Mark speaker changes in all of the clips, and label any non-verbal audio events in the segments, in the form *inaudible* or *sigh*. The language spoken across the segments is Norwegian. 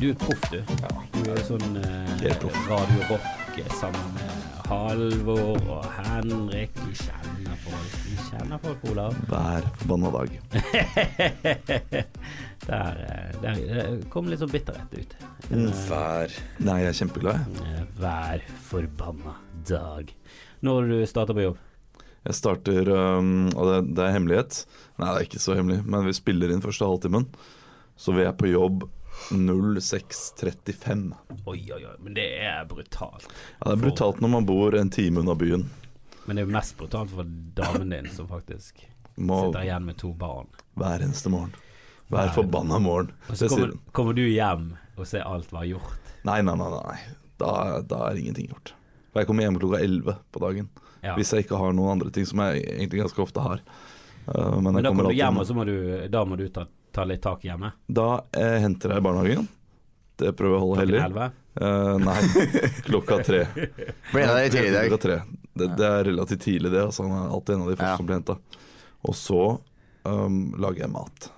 Speaker 1: du er proff, du. Du er jo sånn eh,
Speaker 2: Jeg er proff.
Speaker 1: Radio Rock eh, sammen med Halvor og Henrik. Vi kjenner folk. Vi kjenner folk, Olav. *laughs*
Speaker 2: hver forbanna dag.
Speaker 1: Der, eh, der det kom litt sånn bitterhet ut.
Speaker 2: Mm,
Speaker 3: Vær.
Speaker 2: Nei, jeg er kjempeglad, jeg.
Speaker 1: Eh, Hver forbanna dag. Når du starter på jobb.
Speaker 2: Jeg starter øhm, Og det, det er hemmelighet. Nei, det er ikke så hemmelig, men vi spiller inn første halvtimen. Så vi er på jobb 06.35.
Speaker 1: Oi, oi, oi. Men det er brutalt.
Speaker 2: Ja, det er brutalt når man bor en time unna byen.
Speaker 1: Men det er jo mest brutalt for damen din, som faktisk
Speaker 2: Må
Speaker 1: sitter igjen med to barn.
Speaker 2: hver eneste morgen. Hver forbanna morgen.
Speaker 1: Og så
Speaker 2: Det sier
Speaker 1: kommer,
Speaker 2: hun.
Speaker 1: kommer du hjem og ser alt var gjort.
Speaker 2: Nei, nei, nei. nei. Da, da er ingenting gjort. For jeg kommer hjem klokka 11 på dagen.
Speaker 1: Ja.
Speaker 2: Hvis jeg ikke har noen andre ting, som jeg egentlig ganske ofte har. Uh,
Speaker 1: Men
Speaker 2: men jeg
Speaker 1: da kommer du
Speaker 2: alltid
Speaker 1: hjem,
Speaker 2: med-
Speaker 1: og så må du, da må du ta, ta litt tak hjemme.
Speaker 2: Da eh, henter jeg i barnehagen. Det prøver jeg å holde
Speaker 1: Klokken elleve.
Speaker 2: hellig. Eh, nei, klokka
Speaker 1: *laughs*
Speaker 2: tre.
Speaker 3: Ble det tidlig i
Speaker 2: Klokka
Speaker 3: dag?
Speaker 2: tre. Det, det er relativt tidlig, det. Altså, han er alltid en av de første
Speaker 3: Ja.
Speaker 2: som blir henta. Og så um, lager jeg mat.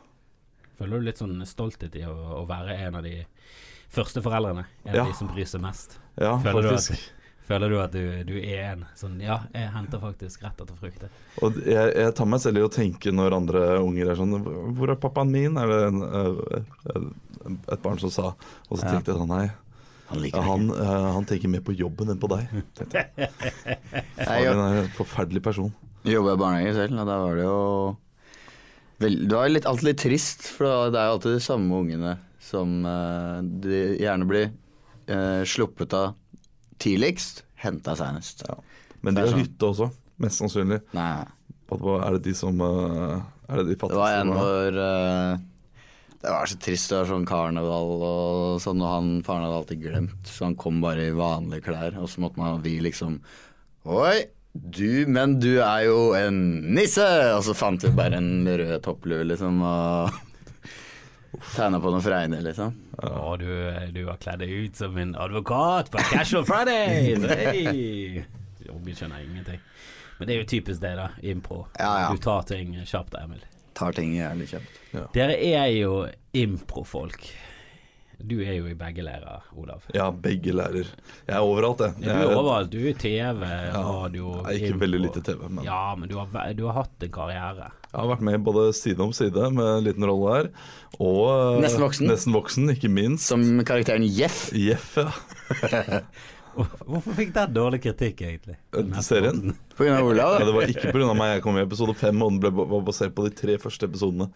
Speaker 1: Føler du litt sånn stolthet i å, å være en av de første foreldrene? En
Speaker 2: Ja.
Speaker 1: av de som bryr seg mest?
Speaker 2: Ja,
Speaker 1: Føler du
Speaker 2: faktisk.
Speaker 1: Føler du at du, du er en sånn Ja, jeg henter faktisk rett etter frukt. jeg».
Speaker 2: Og jeg, jeg tar meg selv i å tenke når andre unger er sånn Hvor er pappaen min? Er det en, eh, et barn som sa Og så
Speaker 1: Ja.
Speaker 2: tenkte jeg sånn Nei,
Speaker 3: Han
Speaker 2: ja, han, eh, han tenker mer på jobben enn på deg.
Speaker 3: *laughs*
Speaker 2: Tenkte jeg.
Speaker 3: Jeg
Speaker 2: Han
Speaker 3: jobb-
Speaker 2: er en forferdelig person.
Speaker 3: jobba i barnehage selv, og da var det jo vel, Det var litt, alltid litt trist, for det er jo alltid de samme ungene som eh, de gjerne blir eh, sluppet av tidligst, henta seinest.
Speaker 2: Men de
Speaker 3: Det er
Speaker 2: har
Speaker 3: sånn.
Speaker 2: hytte også, mest sannsynlig.
Speaker 3: Nei,
Speaker 2: At hva- Er det de som eh, Er det de
Speaker 3: det var
Speaker 2: fattigste?
Speaker 3: en
Speaker 2: som er-
Speaker 3: hvor eh, det var så trist, det var sånn karneval og sånn, og han, faren hadde alltid glemt, så han kom bare i vanlige klær, og så måtte man, vi liksom Oi, du, men du er jo en nisse! Og så fant vi bare en rød topplue, liksom, og *laughs* tegna på noen fregner, liksom.
Speaker 1: Å, du, du har kledd deg ut som en advokat på Casual Fridays! Hey! Robin skjønner ingenting. Men det er jo typisk det, da. Impro.
Speaker 3: Ja, ja.
Speaker 1: Du tar ting kjapt, Emil.
Speaker 3: Tar ting jævlig kjapt.
Speaker 1: Dere er jo improfolk. Du er jo i begge leirer, Olav.
Speaker 2: Ja, begge lærer. Jeg er overalt, jeg.
Speaker 1: Du
Speaker 2: Jeg
Speaker 1: er
Speaker 2: er-
Speaker 1: overalt. Du er i TV, radio
Speaker 2: jeg er ikke
Speaker 1: impro.
Speaker 2: veldig lite TV, men-
Speaker 1: Ja, men du har, væ- du har hatt en karriere.
Speaker 2: Jeg har vært med både Side om side, med en liten rolle her, og eh,
Speaker 3: Nesten voksen.
Speaker 2: Nesten voksen, ikke minst.
Speaker 3: Som karakteren Jeff.
Speaker 2: Jeff, ja.
Speaker 1: Hvorfor fikk den dårlig kritikk, egentlig?
Speaker 2: Den Serien.
Speaker 3: På grunn av Olav.
Speaker 2: Ja, det var ikke pga. meg. Jeg kom i episode fem, og den ble, var basert på de tre første episodene.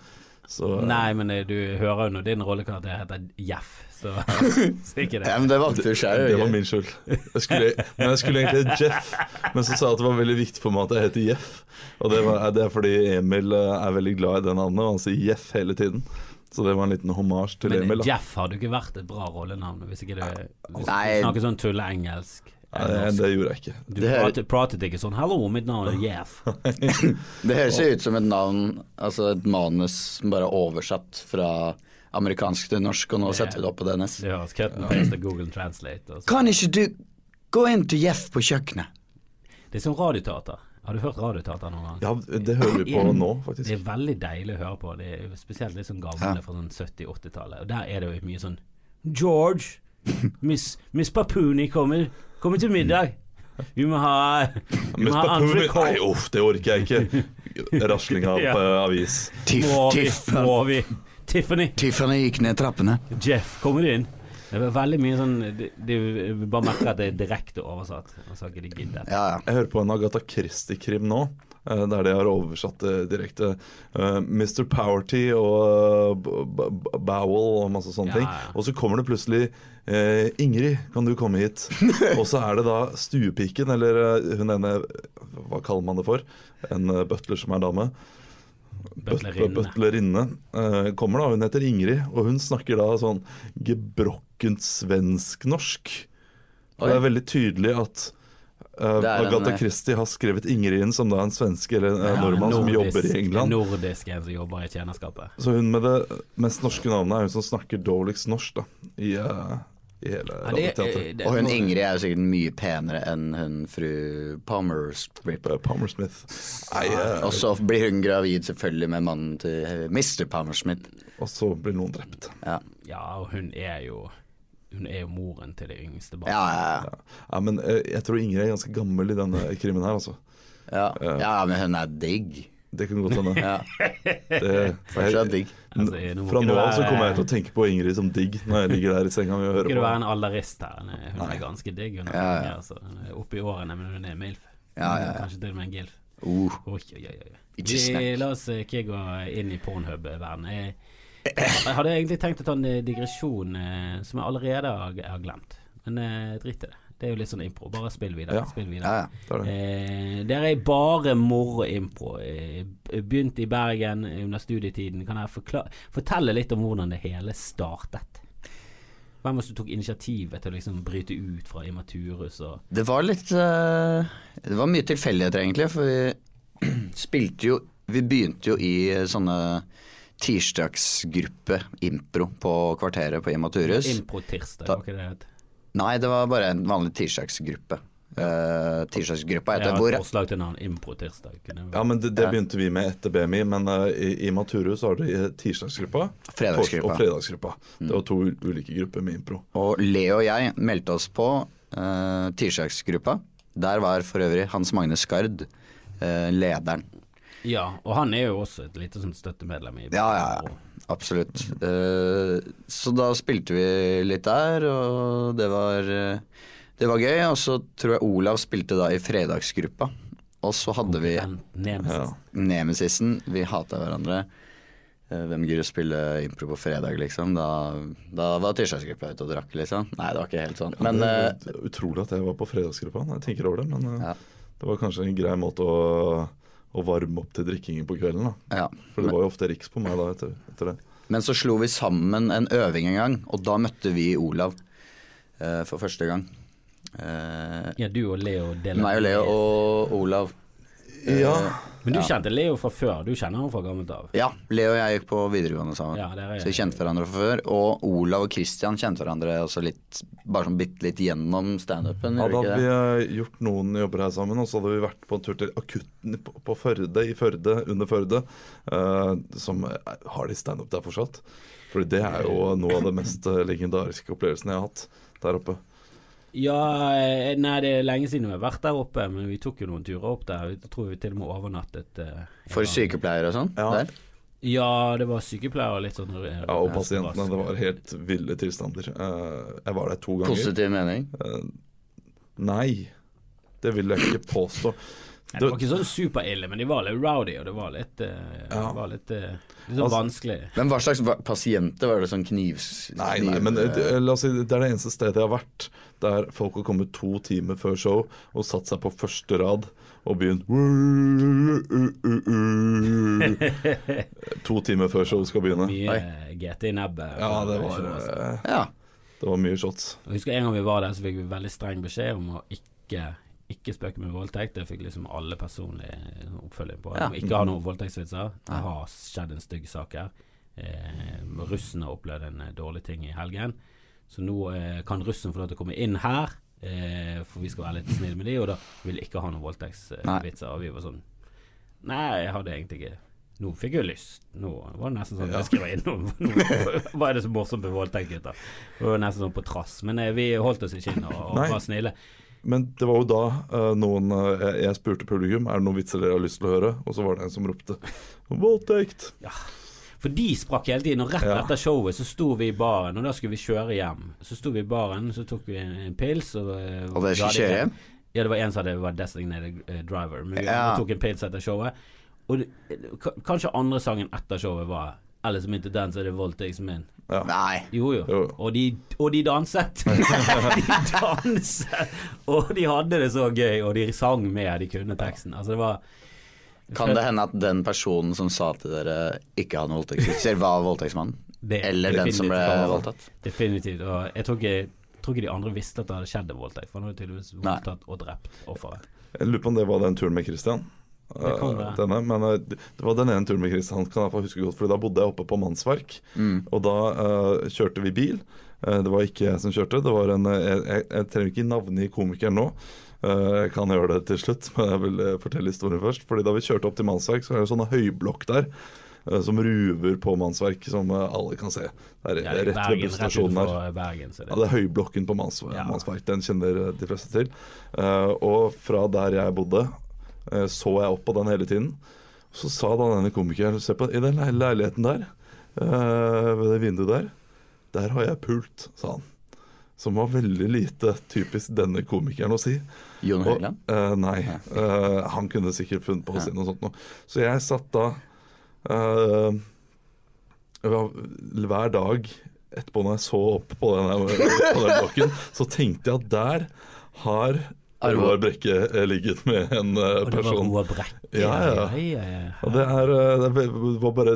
Speaker 2: Så eh,
Speaker 1: Nei, men eh, du hører jo når din rollekarakter heter Jeff,
Speaker 2: *laughs*
Speaker 1: så, så ikke det.
Speaker 3: Ja, men det valgte du sjøl.
Speaker 2: det var min skyld. Jeg skulle, men jeg skulle egentlig hete Jeff, men så sa jeg at det var veldig viktig for meg at jeg heter Jeff. Og det, var, det er fordi Emil eh, er veldig glad i det navnet, og han sier Jeff hele tiden. Så det var en liten hommage til
Speaker 1: Men eh,
Speaker 2: Emil. Da.
Speaker 1: Jeff hadde jo ikke vært et bra rollenavn hvis ikke du hvis du
Speaker 3: Nei.
Speaker 1: snakker sånn tulleengelsk.
Speaker 2: Nei, det, det gjorde jeg ikke.
Speaker 1: Du
Speaker 3: Det her-
Speaker 1: pratet, pratet ikke sånn 'Hallo, mitt navn er Jeff'.
Speaker 2: *laughs*
Speaker 3: Det høres jo ut som et navn, altså et manus som bare er oversatt fra amerikansk til norsk, og nå setter vi det opp på DNS.
Speaker 1: Det høres cut and paste av Google Translate. altså. og så-
Speaker 3: Kan ikke du gå inn til Jeff på kjøkkenet?
Speaker 1: Det er som radioteater. Har du hørt radioteater noen gang?
Speaker 2: Ja, det hører vi på nå,
Speaker 1: Det
Speaker 2: faktisk.
Speaker 1: er veldig deilig å høre på. Det er jo spesielt litt sånn gamle fra sånn 70-80-tallet. Og der er det jo mye sånn George, *laughs* Miss, Miss Papuni kommer, kommer til middag. Vi må ha Vi
Speaker 2: Men
Speaker 1: må ha
Speaker 2: Spapuni Nei,
Speaker 1: entrecôte.
Speaker 2: uff, det orker jeg ikke. Rasling av
Speaker 1: *laughs* Ja.
Speaker 2: eh, avis.
Speaker 3: Tiff,
Speaker 1: Må vi,
Speaker 3: Tiff.
Speaker 1: må vi Tiffany.
Speaker 3: Tiffany gikk ned trappene.
Speaker 1: Jeff, kommer du inn? Det er veldig mye sånn Du, du bare merker at det er direkte oversatt. Og så har ikke de giddet.
Speaker 3: Ja, ja.
Speaker 2: Jeg hører på en Agatha Christie-krim nå, eh, der de har oversatt det direkte. eh, Mr. Powerty og eh, B- B- Bowel og masse sånne
Speaker 1: Ja,
Speaker 2: ting.
Speaker 1: ja.
Speaker 2: Og så kommer det plutselig eh, Ingrid, kan du komme
Speaker 1: *laughs*
Speaker 2: hit? og så er det da stuepiken, eller eh, hun ene Hva kaller man det for? En eh, butler som er dame.
Speaker 1: Butlerinne.
Speaker 2: Butlerinne eh, kommer da, hun heter Ingrid, og hun snakker da sånn gebrokkent svensk-norsk. Og det er veldig tydelig at eh,
Speaker 3: Det er en,
Speaker 2: Agatha
Speaker 3: eh,
Speaker 2: Christie har skrevet Ingrid inn som da en svenske eller en eh, nordmann som jobber i England.
Speaker 1: Nordisk en som jobber i tjenerskapet.
Speaker 2: Så hun med det mest norske navnet er hun som snakker dårligst norsk da, i, eh, i
Speaker 1: Ja,
Speaker 2: hele
Speaker 1: det-
Speaker 2: radioteatret.
Speaker 1: det-
Speaker 3: Og hun Ingrid er jo sikkert mye penere enn hun fru Palmersprip.
Speaker 2: Eh, Palmersmith. Nei, eh,
Speaker 3: Og så blir hun gravid selvfølgelig med mannen til Mr. Palmersmith.
Speaker 2: og så blir noen drept.
Speaker 3: Ja.
Speaker 1: Ja, og hun er jo Hun er jo moren til det yngste barnet.
Speaker 3: Ja, ja,
Speaker 2: Ja, men eh, jeg tror Ingrid er ganske gammel i denne krimmen her, altså.
Speaker 3: ja. ja. ja men hun er digg.
Speaker 2: Det kan godt hende.
Speaker 3: Ja,
Speaker 2: Det-
Speaker 3: fortsatt digg.
Speaker 1: Altså, nå må
Speaker 2: Fra
Speaker 1: ikke
Speaker 2: nå
Speaker 1: du
Speaker 2: av så
Speaker 1: være-
Speaker 2: kommer jeg til å tenke på Ingrid som digg når jeg ligger der i senga mi og
Speaker 1: Skal du
Speaker 2: hører på.
Speaker 1: være en alderist her? Hun er, hun er ganske digg. Hun er,
Speaker 3: Ja, ja.
Speaker 1: ja, altså. Hun er oppe i årene, men hun er milf.
Speaker 3: Ja, ja, ja.
Speaker 1: Kanskje til og med en gilf. Oi,
Speaker 3: Uh,
Speaker 1: oi, oi, oi.
Speaker 3: Ikke snakk.
Speaker 1: Eh, La oss eh, ikke gå inn i pornhub-verden. Jeg, jeg hadde egentlig tenkt å ta en eh, digresjon eh, som jeg allerede har, har glemt, men eh, drit i det. Det er jo litt sånn impro. Bare spill videre.
Speaker 2: Ja.
Speaker 1: Spill videre.
Speaker 3: ja, ja.
Speaker 2: Det er det.
Speaker 1: Eh, der er bare moro og impro. Eh, begynt i Bergen eh, under studietiden. Kan jeg forkla- fortelle litt om hvordan det hele startet? Hvem var det som tok initiativet til å liksom bryte ut fra Imaturus og
Speaker 3: Det var litt eh, Det var mye tilfeldigheter, egentlig. For vi *clears throat* spilte jo Vi begynte jo i eh, sånne tirsdagsgruppe impro på Kvarteret på Imaturus.
Speaker 1: Impro-tirsdag,
Speaker 3: Da-
Speaker 1: var ikke det det het?
Speaker 3: Nei, det var bare en vanlig tirsdagsgruppe. Eh, tirsdagsgruppa
Speaker 1: Jeg
Speaker 3: heter
Speaker 1: har
Speaker 3: hvor
Speaker 1: et forslag til navn. Impro-tirsdag. kunne det
Speaker 2: Ja,
Speaker 1: vært.
Speaker 2: men det, det begynte vi med etter BMI, men eh, i, i Maturus har du eh, tirsdagsgruppa tors-
Speaker 3: Fredagsgruppa.
Speaker 2: og fredagsgruppa. Det var to u- ulike grupper med impro.
Speaker 3: Og Leo og jeg meldte oss på eh, tirsdagsgruppa. Der var for øvrig Hans Magne Skard eh, lederen.
Speaker 1: Ja, og han er jo også et lite sånn støttemedlem i
Speaker 3: Ja, ja, ja. Absolutt. Eh, så da spilte vi litt der, og det var, eh, det var gøy. Og så tror jeg Olav spilte da i fredagsgruppa. Og så hadde vi
Speaker 1: Den nemesis.
Speaker 3: nemesisen. Vi hata hverandre. Eh, Hvem gidder å spille impro på fredag, liksom? Da, da var tirsdagsgruppa ute og drakk, liksom. Nei, det var ikke helt sånn. Men
Speaker 2: det,
Speaker 3: eh,
Speaker 2: det er utrolig at jeg var på fredagsgruppa når jeg tenker over det, men eh,
Speaker 3: Ja.
Speaker 2: det var kanskje en grei måte å, å varme opp til drikkingen på kvelden. da.
Speaker 3: ja.
Speaker 2: For det var jo ofte riks på meg da etter, etter det.
Speaker 3: Men så slo vi sammen en øving en gang, og da møtte vi Olav eh, for første gang. Eh,
Speaker 1: Ja, du og Leo deler
Speaker 3: meg og Leo og Olav. Eh,
Speaker 2: Ja,
Speaker 1: Men du kjente Leo fra før? Du kjenner han fra gammelt av?
Speaker 3: Ja, Leo og jeg gikk på videregående sammen.
Speaker 1: Ja, dere er-
Speaker 3: så vi kjente hverandre fra før. Og Olav og Christian kjente hverandre også litt, bare sånn bitte litt gjennom standupen.
Speaker 2: Ja, da
Speaker 3: gjorde vi ikke
Speaker 2: hadde vi
Speaker 3: det?
Speaker 2: eh, gjort noen jobber her sammen, og så hadde vi vært på en tur til akutten på, på Førde, i Førde, under Førde, eh, som eh, har de standup der fortsatt. For det er jo noe av det mest eh, legendariske opplevelsen jeg har hatt der oppe.
Speaker 1: Ja, eh, nei det er lenge siden vi har vært der oppe, men vi tok jo noen turer opp der. Jeg tror vi til og med overnattet eh,
Speaker 3: For
Speaker 1: ja.
Speaker 3: sykepleiere og sånn.
Speaker 2: Ja.
Speaker 3: Der.
Speaker 1: Ja, det var sykepleier og litt sånn eh,
Speaker 2: Ja, og
Speaker 1: eh,
Speaker 2: pasientene,
Speaker 1: rask-
Speaker 2: det var helt ville tilstander. Eh, jeg var der to ganger.
Speaker 3: Positiv mening.
Speaker 2: Nei, det vil jeg ikke påstå.
Speaker 1: Nei, Det var ikke sånn superille, men de var litt rowdy, og det var litt, eh,
Speaker 2: Ja.
Speaker 1: det var litt, eh, litt sånn
Speaker 2: Altså-
Speaker 1: vanskelig.
Speaker 3: Men hva slags va- pasienter var det sånn knivs...
Speaker 2: Nei, nei, men eh, det- la oss si, det er det eneste stedet jeg har vært der folk har kommet to timer før show og satt seg på første rad og begynt To timer før show skal begynne.
Speaker 1: Mye eh, GT i nebbet.
Speaker 2: Ja, det
Speaker 1: og-
Speaker 2: var,
Speaker 1: og-
Speaker 2: eh,
Speaker 3: Ja.
Speaker 2: det var mye shots.
Speaker 1: Jeg husker en gang vi var der, så fikk vi veldig streng beskjed om å ikke ikke spøke med voldtekt. Jeg fikk liksom alle personlig eh, oppfølging på. det.
Speaker 3: Ja.
Speaker 1: Om Ikke ha noen voldtektsvitser. Det har skjedd en stygg sak her. Eh, russen har opplevd en eh, dårlig ting i helgen. Så nå eh, kan russen få lov til å komme inn her, eh, for vi skal være litt snille med de, og da vil jeg ikke ha noen
Speaker 3: Nei.
Speaker 1: voldtektsvitser. Og vi var sånn Nei, jeg hadde egentlig ikke Nå fikk jeg lyst. Nå var det nesten sånn Jeg skriver inn noe. *laughs* nå- Hva er det så morsomt med voldtekt, gutter? Det var nesten sånn på trass. Men eh, vi holdt oss i kinnet og, og
Speaker 2: Nei.
Speaker 1: var snille.
Speaker 2: Men det var jo da eh, noen eh, jeg- Jeg spurte publikum er det noen vitser dere har lyst til å høre, og så var det en som ropte 'voldtekt'.
Speaker 1: For de sprakk hele tiden, og rett
Speaker 2: Ja.
Speaker 1: etter showet så sto vi i baren, og da skulle vi kjøre hjem. Så sto vi i baren, så tok vi en, en pils. Og, eh,
Speaker 3: Og dere skulle
Speaker 1: ga de-
Speaker 3: kjøre hjem?
Speaker 1: Ja, det var en som hadde vært designated eh, driver, men vi
Speaker 3: Ja.
Speaker 1: andre tok en pils etter showet. Og det, k- kanskje andre sangen etter showet var 'Eller som ikke den, så er det voldtekten min'.
Speaker 3: Nei.
Speaker 1: Jo, jo.
Speaker 2: Jo.
Speaker 1: Og, de, og de
Speaker 2: *laughs*
Speaker 1: danset. de danset! Og de hadde det så gøy, og de sang med, de kunne teksten. Altså, det var
Speaker 3: Kan det hende at den personen som sa til dere ikke hadde voldtektsvitser, var voldtektsmannen?
Speaker 1: Det-
Speaker 3: Eller den som ble
Speaker 1: definitivt.
Speaker 3: voldtatt?
Speaker 1: Definitivt. Og jeg tror ikke, tror ikke de andre visste at det hadde skjedd en voldtekt. For han hadde tydeligvis
Speaker 3: Nei.
Speaker 1: voldtatt og drept offeret.
Speaker 2: Jeg lurer på om det var den turen med Christian.
Speaker 1: Det kan
Speaker 2: Eh,
Speaker 1: være.
Speaker 2: denne, men eh, det det var den ene turen med Christian, kan jeg få huske godt, Fordi da bodde jeg oppe på Mannsverk.
Speaker 3: Mm.
Speaker 2: Og da eh, kjørte vi bil. Eh, det var ikke jeg som kjørte. Det var en, eh, jeg, jeg, jeg trenger ikke navngi komikeren nå. Eh, jeg kan gjøre det til slutt, men jeg vil eh, fortelle historien først. Fordi Da vi kjørte opp til Mannsverk, så er det en sånn høyblokk der. eh, som ruver på mannsverk, som eh, alle kan se. Det er, det
Speaker 1: Ja,
Speaker 2: er
Speaker 1: det er
Speaker 2: rett ved
Speaker 1: Bergen, rett
Speaker 2: busstasjonen her.
Speaker 1: utenfor Bergen. Så
Speaker 2: Ja,
Speaker 1: det.
Speaker 2: det er Høyblokken på Mansverk.
Speaker 1: Ja.
Speaker 2: Mansverk. Den kjenner eh, de fleste til. Eh, og fra der jeg bodde, eh, så jeg opp på den hele tiden. Så sa da denne komikeren Se på i den le- leiligheten der, eh, ved det vinduet der, der har jeg pult, sa han. Som var veldig lite typisk denne komikeren å si.
Speaker 3: Jon
Speaker 2: Og,
Speaker 3: Høiland?
Speaker 2: eh, nei. Eh, han kunne sikkert funnet på å si noe sånt noe. Så jeg satt da eh, hver- hver dag etterpå når jeg så opp på den, her- på den *laughs* blokken, så tenkte jeg at der har Roar Brekke eh, ligget med en eh,
Speaker 1: Og det var
Speaker 2: person.
Speaker 1: Roar Brekke.
Speaker 2: Ja, ja.
Speaker 1: ja, ja, ja.
Speaker 2: Og det er, eh, det er ve- var bare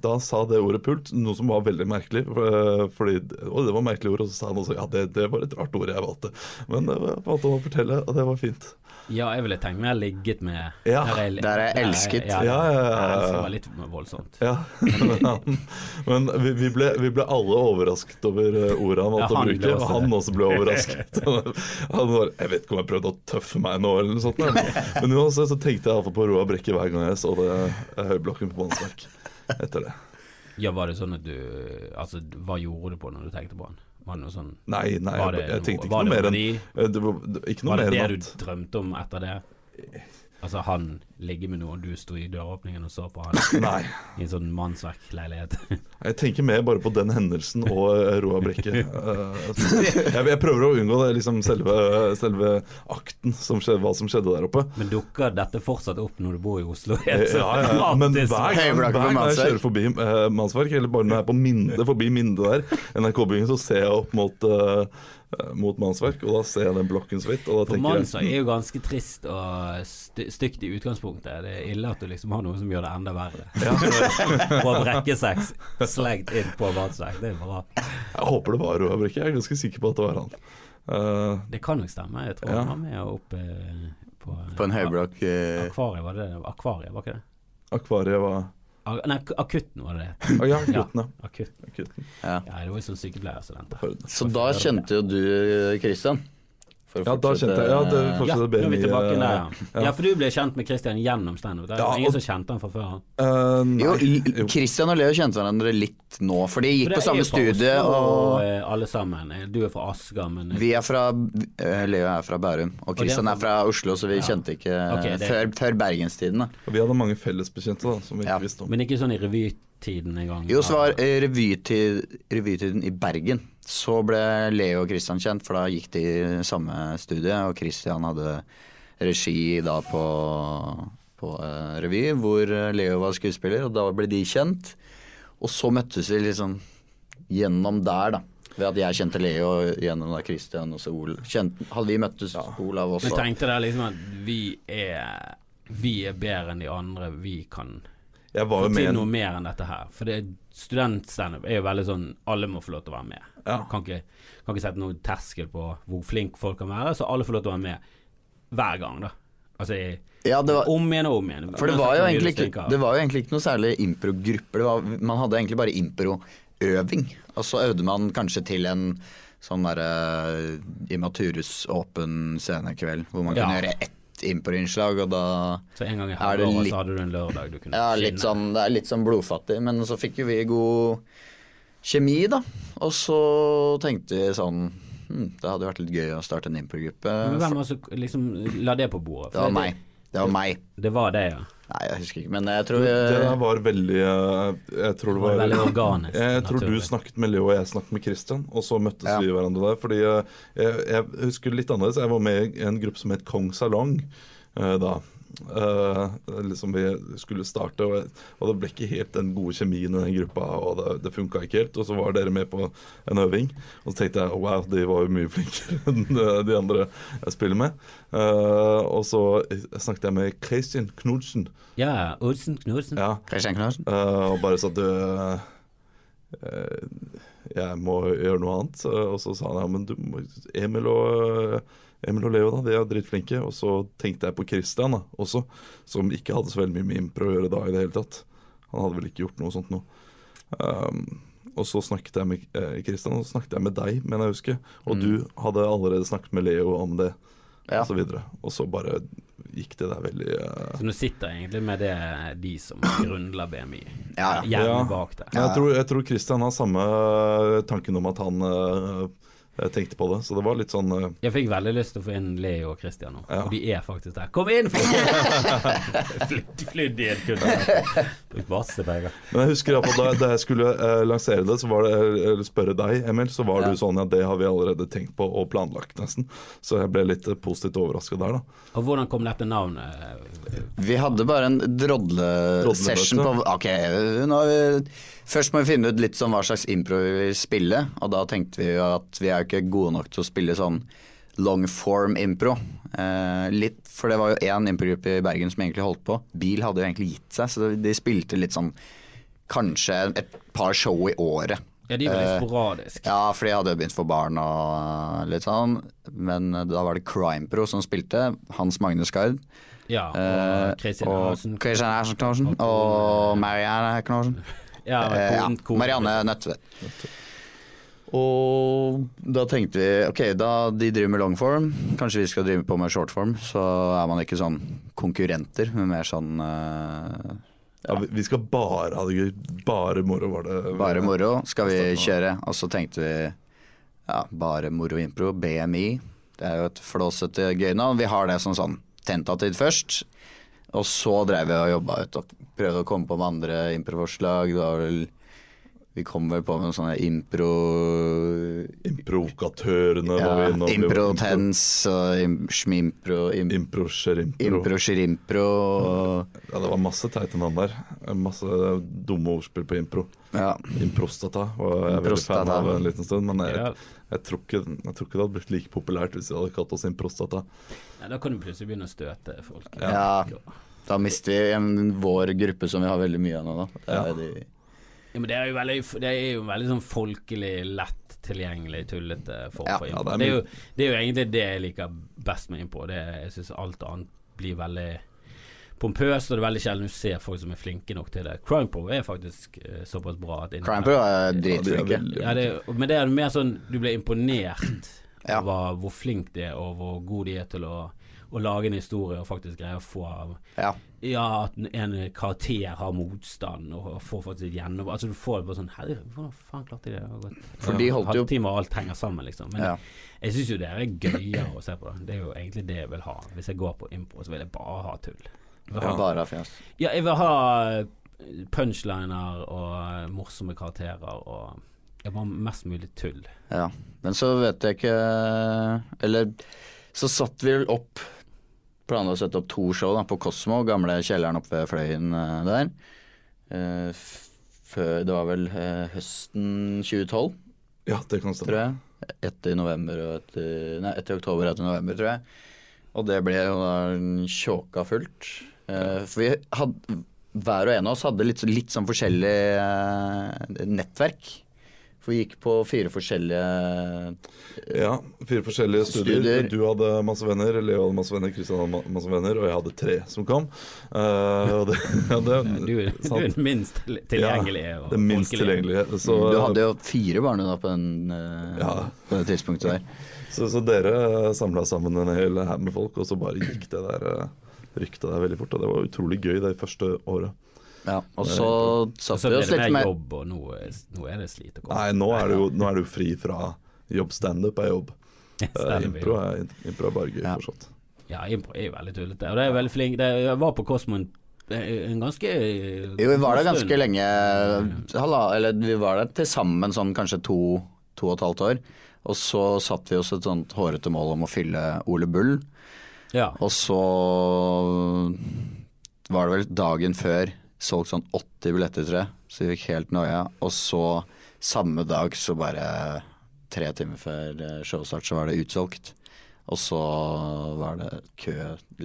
Speaker 2: Da han sa det ordet pult, noe som var veldig merkelig for- eh, fordi, Og det var merkelig ord, og så sa han også ja, det, det var et rart ord jeg valgte. Men det var- valgte han å fortelle, og det var fint.
Speaker 1: Ja, jeg ville tenkt meg jeg ligget med
Speaker 2: Ja,
Speaker 1: Der jeg-
Speaker 3: der er jeg elsket.
Speaker 1: Ja,
Speaker 2: Ja,
Speaker 1: ja,
Speaker 2: ja, ja, ja.
Speaker 1: Det var litt voldsomt.
Speaker 2: Ja. *laughs* Men vi, vi, ble, vi ble alle overrasket over eh, ordet han
Speaker 1: Ja,
Speaker 2: valgte å
Speaker 1: han ble
Speaker 2: bruke, og
Speaker 1: også
Speaker 2: han også ble
Speaker 1: *laughs*
Speaker 2: overrasket. Han var, jeg vet ikke om jeg prøvde å tøffe meg nå, eller noe sånt. men- Men uansett så tenkte jeg iallfall på Roar Brekke hver gang jeg så det eh, høyblokken på Mannsverk etter det.
Speaker 1: Ja, var det sånn at du Altså, hva gjorde du på når du tenkte på han? Var det noe sånn
Speaker 2: Nei, nei,
Speaker 1: Var
Speaker 2: jeg,
Speaker 1: det noe-
Speaker 2: tenkte ikke
Speaker 1: var
Speaker 2: noe
Speaker 1: det
Speaker 2: mer enn
Speaker 1: fordi-
Speaker 2: eh, det var, det- Ikke noe
Speaker 1: Var det
Speaker 2: mer
Speaker 1: det
Speaker 2: enn
Speaker 1: du
Speaker 2: at
Speaker 1: drømte om etter det? Altså, han ligger med noen, du sto i døråpningen og så på han
Speaker 2: *laughs* Nei.
Speaker 1: i en sånn mannsverkleilighet.
Speaker 2: Jeg tenker mer bare på den hendelsen og eh, Roar Brekke.
Speaker 1: *laughs*
Speaker 2: Eh, Jeg, jeg prøver å unngå det, liksom selve, selve akten, som skjedde, hva som skjedde der oppe.
Speaker 1: Men dukker dette fortsatt opp når du bor i Oslo?
Speaker 2: Ja,
Speaker 1: Helt
Speaker 2: ja, ja. Eh,
Speaker 1: *laughs*
Speaker 2: Men hver
Speaker 1: dramatisk.
Speaker 2: gang, hver
Speaker 3: Høyblakken på
Speaker 2: gang jeg
Speaker 3: Mansverk.
Speaker 2: kjører forbi eh, Mansverk, eller bare når jeg er på Minde, forbi Minde der, NRK-byen, så ser jeg opp mot, eh, mot Mansverk, og da ser jeg den blokken så vidt. Og da
Speaker 1: For
Speaker 2: tenker jeg
Speaker 1: mannsverk er jo ganske trist og sty stygt i utgangspunktet. Det er ille at du liksom har noe som gjør det enda verre. *laughs* Fra brekkesex slengt inn på mannsverk, det er bra.
Speaker 2: Jeg håper det var Roar Brekke, jeg er ganske sikker på at det var han. Eh,
Speaker 1: Det kan nok stemme. Jeg tror
Speaker 2: Ja.
Speaker 1: han var med opp eh, på,
Speaker 3: På en høyblokk eh,
Speaker 1: Akvariet, var det det? Akvariet, var ikke det?
Speaker 2: akvariet var
Speaker 1: A nei, ak- akutten var det det.
Speaker 2: Å Ja,
Speaker 1: Ja.
Speaker 2: gutten, ja.
Speaker 1: Akutten.
Speaker 2: Gutten.
Speaker 3: ja.
Speaker 1: Ja, det var jo sånn sykepleierstudent.
Speaker 2: For-
Speaker 3: Så da kjente jo du eh, Christian. For å
Speaker 2: Ja, da
Speaker 3: fortsette-
Speaker 2: kjente jeg ja, det,
Speaker 1: Ja, nå
Speaker 2: fortsatte
Speaker 1: er vi
Speaker 2: BMI,
Speaker 1: tilbake
Speaker 2: eh,
Speaker 1: der, ja. Ja, for du ble kjent med Christian gjennom standup. Det er
Speaker 2: Ja,
Speaker 1: ingen som
Speaker 2: og-
Speaker 1: kjente han fra før. han.
Speaker 2: eh, nei,
Speaker 3: Jo,
Speaker 2: jo.
Speaker 3: L- Christian og Leo kjente hverandre litt nå, for de
Speaker 1: For
Speaker 3: gikk
Speaker 1: det
Speaker 3: på
Speaker 1: er
Speaker 3: samme
Speaker 1: jo fra
Speaker 3: studie.
Speaker 1: Oslo,
Speaker 3: Og
Speaker 1: eh, alle sammen. Eh, Du er fra Asker, men eh,
Speaker 3: vi er fra eh, Leo er fra Bærum,
Speaker 1: det er
Speaker 3: og Christian er fra Oslo, så vi kjente ikke eh,
Speaker 1: Ok, det-
Speaker 3: før, før bergenstiden. Da.
Speaker 2: Og Vi hadde mange fellesbekjente da, som vi ikke
Speaker 3: Ja.
Speaker 2: visste om.
Speaker 1: Men ikke sånn i revytiden engang?
Speaker 3: Jo, så var eh, revytid, revytiden i Bergen. Så ble Leo og Christian kjent, for da gikk de i samme studie, og Christian hadde regi da på, på eh, revy, hvor eh, Leo var skuespiller, og da ble de kjent. Og så møttes vi liksom gjennom der, da. Ved at jeg kjente Leo gjennom da Christian og så Ol. Kjent, hadde vi møttes, Olav
Speaker 1: Men
Speaker 3: også.
Speaker 1: jeg tenkte der liksom at vi er Vi er bedre enn de andre, vi kan
Speaker 2: Jeg var
Speaker 1: få
Speaker 2: jo med
Speaker 1: til
Speaker 2: en
Speaker 1: noe mer enn dette her. For det studentstandup er jo veldig sånn alle må få lov til å være med.
Speaker 2: Ja.
Speaker 1: Kan, ikke, kan ikke sette noen terskel på hvor flink folk kan være, så alle får lov til å være med hver gang, da. Altså i,
Speaker 3: Ja, det var,
Speaker 1: om igjen og om igjen.
Speaker 3: For det
Speaker 1: Uansett
Speaker 3: var,
Speaker 1: hvor
Speaker 3: jo
Speaker 1: mye
Speaker 3: egentlig
Speaker 1: du
Speaker 3: ikke,
Speaker 1: stinker.
Speaker 3: det var jo egentlig ikke noe særlig improgrupper. Det var- Man hadde egentlig bare improøving. Og så øvde man kanskje til en sånn derre Immaturus åpen scenekveld, hvor man
Speaker 1: Ja.
Speaker 3: kunne gjøre ett improinnslag, og da
Speaker 1: Så en gang i
Speaker 3: Er det
Speaker 1: halvåret
Speaker 3: litt-
Speaker 1: så hadde du en lørdag du kunne
Speaker 3: ja, litt
Speaker 1: skinne.
Speaker 3: sånn, Det er litt sånn blodfattig. Men så fikk jo vi god kjemi, da. Og så tenkte vi sånn hm, Det hadde vært litt gøy å starte en
Speaker 1: Men
Speaker 3: improgruppe.
Speaker 1: hvem var det som liksom la det på bordet?
Speaker 3: eh,
Speaker 1: det-
Speaker 3: Det var meg. Det var meg.
Speaker 1: Det var det, ja.
Speaker 3: Nei, jeg husker ikke, men jeg tror
Speaker 2: Det
Speaker 3: vi
Speaker 2: der var veldig eh, Jeg tror det
Speaker 1: Det var
Speaker 2: var
Speaker 1: veldig organisk,
Speaker 2: Jeg tror du
Speaker 1: naturlig.
Speaker 2: snakket med Leo og jeg snakket med Christian, og så møttes
Speaker 3: Ja.
Speaker 2: vi hverandre der. Fordi eh, jeg, jeg husker litt annerledes. Jeg var med i en gruppe som het Kong Salong eh, da. Eh, liksom vi skulle starte, og, og det ble ikke helt den gode kjemien i den gruppa. Og det, det funka ikke helt. Og så var dere med på en øving, og så tenkte jeg wow, de var jo mye flinkere *laughs* enn eh, de andre jeg spiller med. Eh, og så snakket jeg med Christian Knudsen.
Speaker 1: Ja, Olsen Knudsen.
Speaker 2: Ja,
Speaker 3: Christian Knarsen.
Speaker 2: Eh, og bare sa du eh, Jeg må gjøre noe annet. Eh, Og så sa han ja, men du, må- Emil og eh, Emil og Leo da, de er dritflinke. Og så tenkte jeg på Christian da, også, som ikke hadde så veldig mye med impro å gjøre da i det hele tatt. Han hadde vel ikke gjort noe sånt noe. Um, og så snakket jeg med eh, Christian, og så snakket jeg med deg, mener jeg å huske. Og du hadde allerede snakket med Leo om det,
Speaker 3: Ja.
Speaker 2: og så videre. Og så bare gikk det der veldig eh,
Speaker 1: Så du sitter egentlig med det de
Speaker 2: *coughs*
Speaker 1: som grunnla BMI,
Speaker 3: Ja, ja.
Speaker 1: gjerne
Speaker 2: Ja.
Speaker 1: bak der.
Speaker 2: Men jeg tror, jeg tror Christian har samme tanken om at han eh, tenkte på det, så det var litt sånn eh,
Speaker 1: Jeg fikk veldig lyst til å få inn Leo og Christian nå,
Speaker 2: Ja.
Speaker 1: og de er faktisk der. Kom *laughs* inn, folkens! Flytt- Flydd i en kunde. Brukt masse penger.
Speaker 2: Men jeg husker i hvert fall da, da jeg skulle eh, lansere det, så var det, eh, eller spørre deg, Emil, så var
Speaker 3: Ja.
Speaker 2: du sånn ja, det har vi allerede tenkt på og planlagt, nesten. Så jeg ble litt eh, positivt overraska der, da.
Speaker 1: Og hvordan kom dette navnet?
Speaker 3: Vi hadde bare en drodlesession på
Speaker 2: Drodlemøte.
Speaker 3: Ok, nå har vi, først må vi finne ut litt sånn hva slags impro vi vil spille. Og da tenkte vi jo at vi er jo ikke gode nok til å spille sånn long form impro. Eh, litt, for det var jo én improgruppe i Bergen som egentlig holdt på. Bil hadde jo egentlig gitt seg, så de spilte litt sånn kanskje et par show i året.
Speaker 1: Ja, de er veldig
Speaker 3: Eh,
Speaker 1: sporadiske.
Speaker 3: Ja, for de hadde jo begynt for barn og litt sånn. Men da var det Crimepro som spilte. Hans Magnus Gard.
Speaker 1: Ja,
Speaker 3: Eh,
Speaker 1: og Kristin
Speaker 3: og
Speaker 1: Larsen.
Speaker 3: Christian Larsen Knudsen, Og Marianne Knudsen.
Speaker 1: Ja,
Speaker 3: Eh, ja,
Speaker 1: kon- kon-
Speaker 3: Marianne Nødtvedt. Og da tenkte vi ok, da de driver med longform, kanskje vi skal drive på med shortform. Så er man ikke sånn konkurrenter, men mer sånn eh,
Speaker 2: Ja, vi- vi skal bare ha det gøy. Bare moro, var det.
Speaker 3: bare moro skal vi kjøre. Og så tenkte vi ja, bare moro impro, BMI. Det er jo et flåsete gøy navn. Vi har det som sånn tentativt først. Og så drev vi og jobba ut og prøvde å komme på med andre improforslag. Det var vel Vi kom vel på med noen sånne impro...
Speaker 2: Improvokatørene var
Speaker 3: Ja,
Speaker 2: vi innom. Vi var
Speaker 3: improtens og im- smimpro, im-
Speaker 2: Impro, skjerimpro.
Speaker 3: impro-shirimpro og
Speaker 2: Ja, det var masse teite navn der. Masse dumme ordspill på impro.
Speaker 3: ja.
Speaker 2: Improstata var jeg veldig fan
Speaker 3: Prostata.
Speaker 2: av en liten stund, men jeg,
Speaker 1: Ja.
Speaker 2: jeg, tror ikke, jeg tror ikke det hadde blitt like populært hvis vi hadde kalt oss improstata.
Speaker 1: Ja, da kan du plutselig begynne å støte folk.
Speaker 3: Ja. Da mister vi en- vår gruppe som vi har veldig mye av nå, da. Det er de-
Speaker 1: Ja, men det er jo veldig, det er jo veldig sånn folkelig, lett tilgjengelig, tullete form
Speaker 3: Ja,
Speaker 1: for
Speaker 2: ja,
Speaker 1: impro.
Speaker 2: det er
Speaker 1: det, er jo, det er jo egentlig det jeg liker best med impro. Det, er- jeg syns alt annet blir veldig pompøst, og det er veldig sjelden du ser folk som er flinke nok til det. Crime Pro er faktisk eh, såpass bra at
Speaker 3: Crime Pro er dritflinke.
Speaker 1: ja, det, er- Men det er mer sånn du blir imponert
Speaker 3: Ja.
Speaker 1: over hvor flink de er, og hvor god de er til å, å lage en historie og faktisk greie å få av
Speaker 3: Ja.
Speaker 1: Ja, at en karakter har motstand og får faktisk et gjennom... Altså du får det bare sånn Herre, hvordan faen klarte de det? Det var godt.
Speaker 3: For de holdt jo-
Speaker 1: Halvtime og alt henger sammen, liksom. Men
Speaker 3: Ja.
Speaker 1: jeg syns jo det er gøyere å se på. Det Det er jo egentlig det jeg vil ha. Hvis jeg går på impro, så vil jeg bare ha tull. Jeg vil ha-
Speaker 3: Bare av fjas.
Speaker 1: Ja, jeg vil ha eh, punchliner og eh, morsomme karakterer og Jeg vil ha mest mulig tull.
Speaker 3: Ja. Men så vet jeg ikke Eller så satt vi vel opp Planla å sette opp to show da, på Kosmo, gamle kjelleren oppe ved Fløyen eh, der. Eh, f- før, det var vel eh, høsten 2012.
Speaker 2: Ja, det kan stemme.
Speaker 3: tror jeg. Ett i november og ett i Nei, ett i oktober og ett i november, tror jeg. Og det ble jo da en tjåka fullt. Eh, for vi hadde Hver og en av oss hadde litt, litt sånn forskjellig eh, nettverk. For vi gikk på fire forskjellige
Speaker 2: Ja, fire forskjellige studier.
Speaker 3: Studier.
Speaker 2: Du hadde masse venner, Leo hadde masse venner, Kristian hadde ma- masse venner, og jeg hadde tre som kom. Eh, og det, *laughs* ja, det,
Speaker 1: Du, er- du er
Speaker 2: Mm, *laughs* sant.
Speaker 1: den minst til- tilgjengelige.
Speaker 2: Ja,
Speaker 1: og
Speaker 2: det minst
Speaker 1: folkelige.
Speaker 2: tilgjengelige. Så,
Speaker 3: Mm, Du hadde jo fire barn da på, den, eh,
Speaker 2: Ja.
Speaker 3: på det tidspunktet der.
Speaker 2: så, så dere samla sammen en hel haug med folk, og så bare gikk det der eh, ryktet der veldig fort. Og det var utrolig gøy det første året.
Speaker 3: Ja, og så
Speaker 1: Og
Speaker 3: satt
Speaker 1: så
Speaker 3: vi
Speaker 1: ble
Speaker 3: oss
Speaker 1: det
Speaker 3: litt
Speaker 1: mer
Speaker 3: mer
Speaker 1: jobb, og nå, er- nå er det slit å komme.
Speaker 2: Nei, nå er det
Speaker 1: *laughs*
Speaker 2: jo, nå er det jo fri fra jobb. Standup er jobb. Eh,
Speaker 1: Standup er
Speaker 2: impro, er, impro er bare gøy,
Speaker 3: Ja.
Speaker 2: fortsatt.
Speaker 1: Ja, impro er jo veldig tullete. Og det er veldig flink. Det, jeg var på Kosmo en, en ganske eh,
Speaker 3: Jo, vi var der
Speaker 1: god
Speaker 3: ganske
Speaker 1: stund.
Speaker 3: lenge. Halla, eller vi var der til sammen sånn kanskje to, to og et halvt år. Og så satte vi oss et sånt hårete mål om å fylle Ole Bull.
Speaker 1: Ja.
Speaker 3: Og så var det vel dagen før solgt sånn 80 billetter, tror jeg. Så vi fikk helt noia. Og så samme dag, så bare tre timer før eh, showstart, så var det utsolgt. Og så var det kø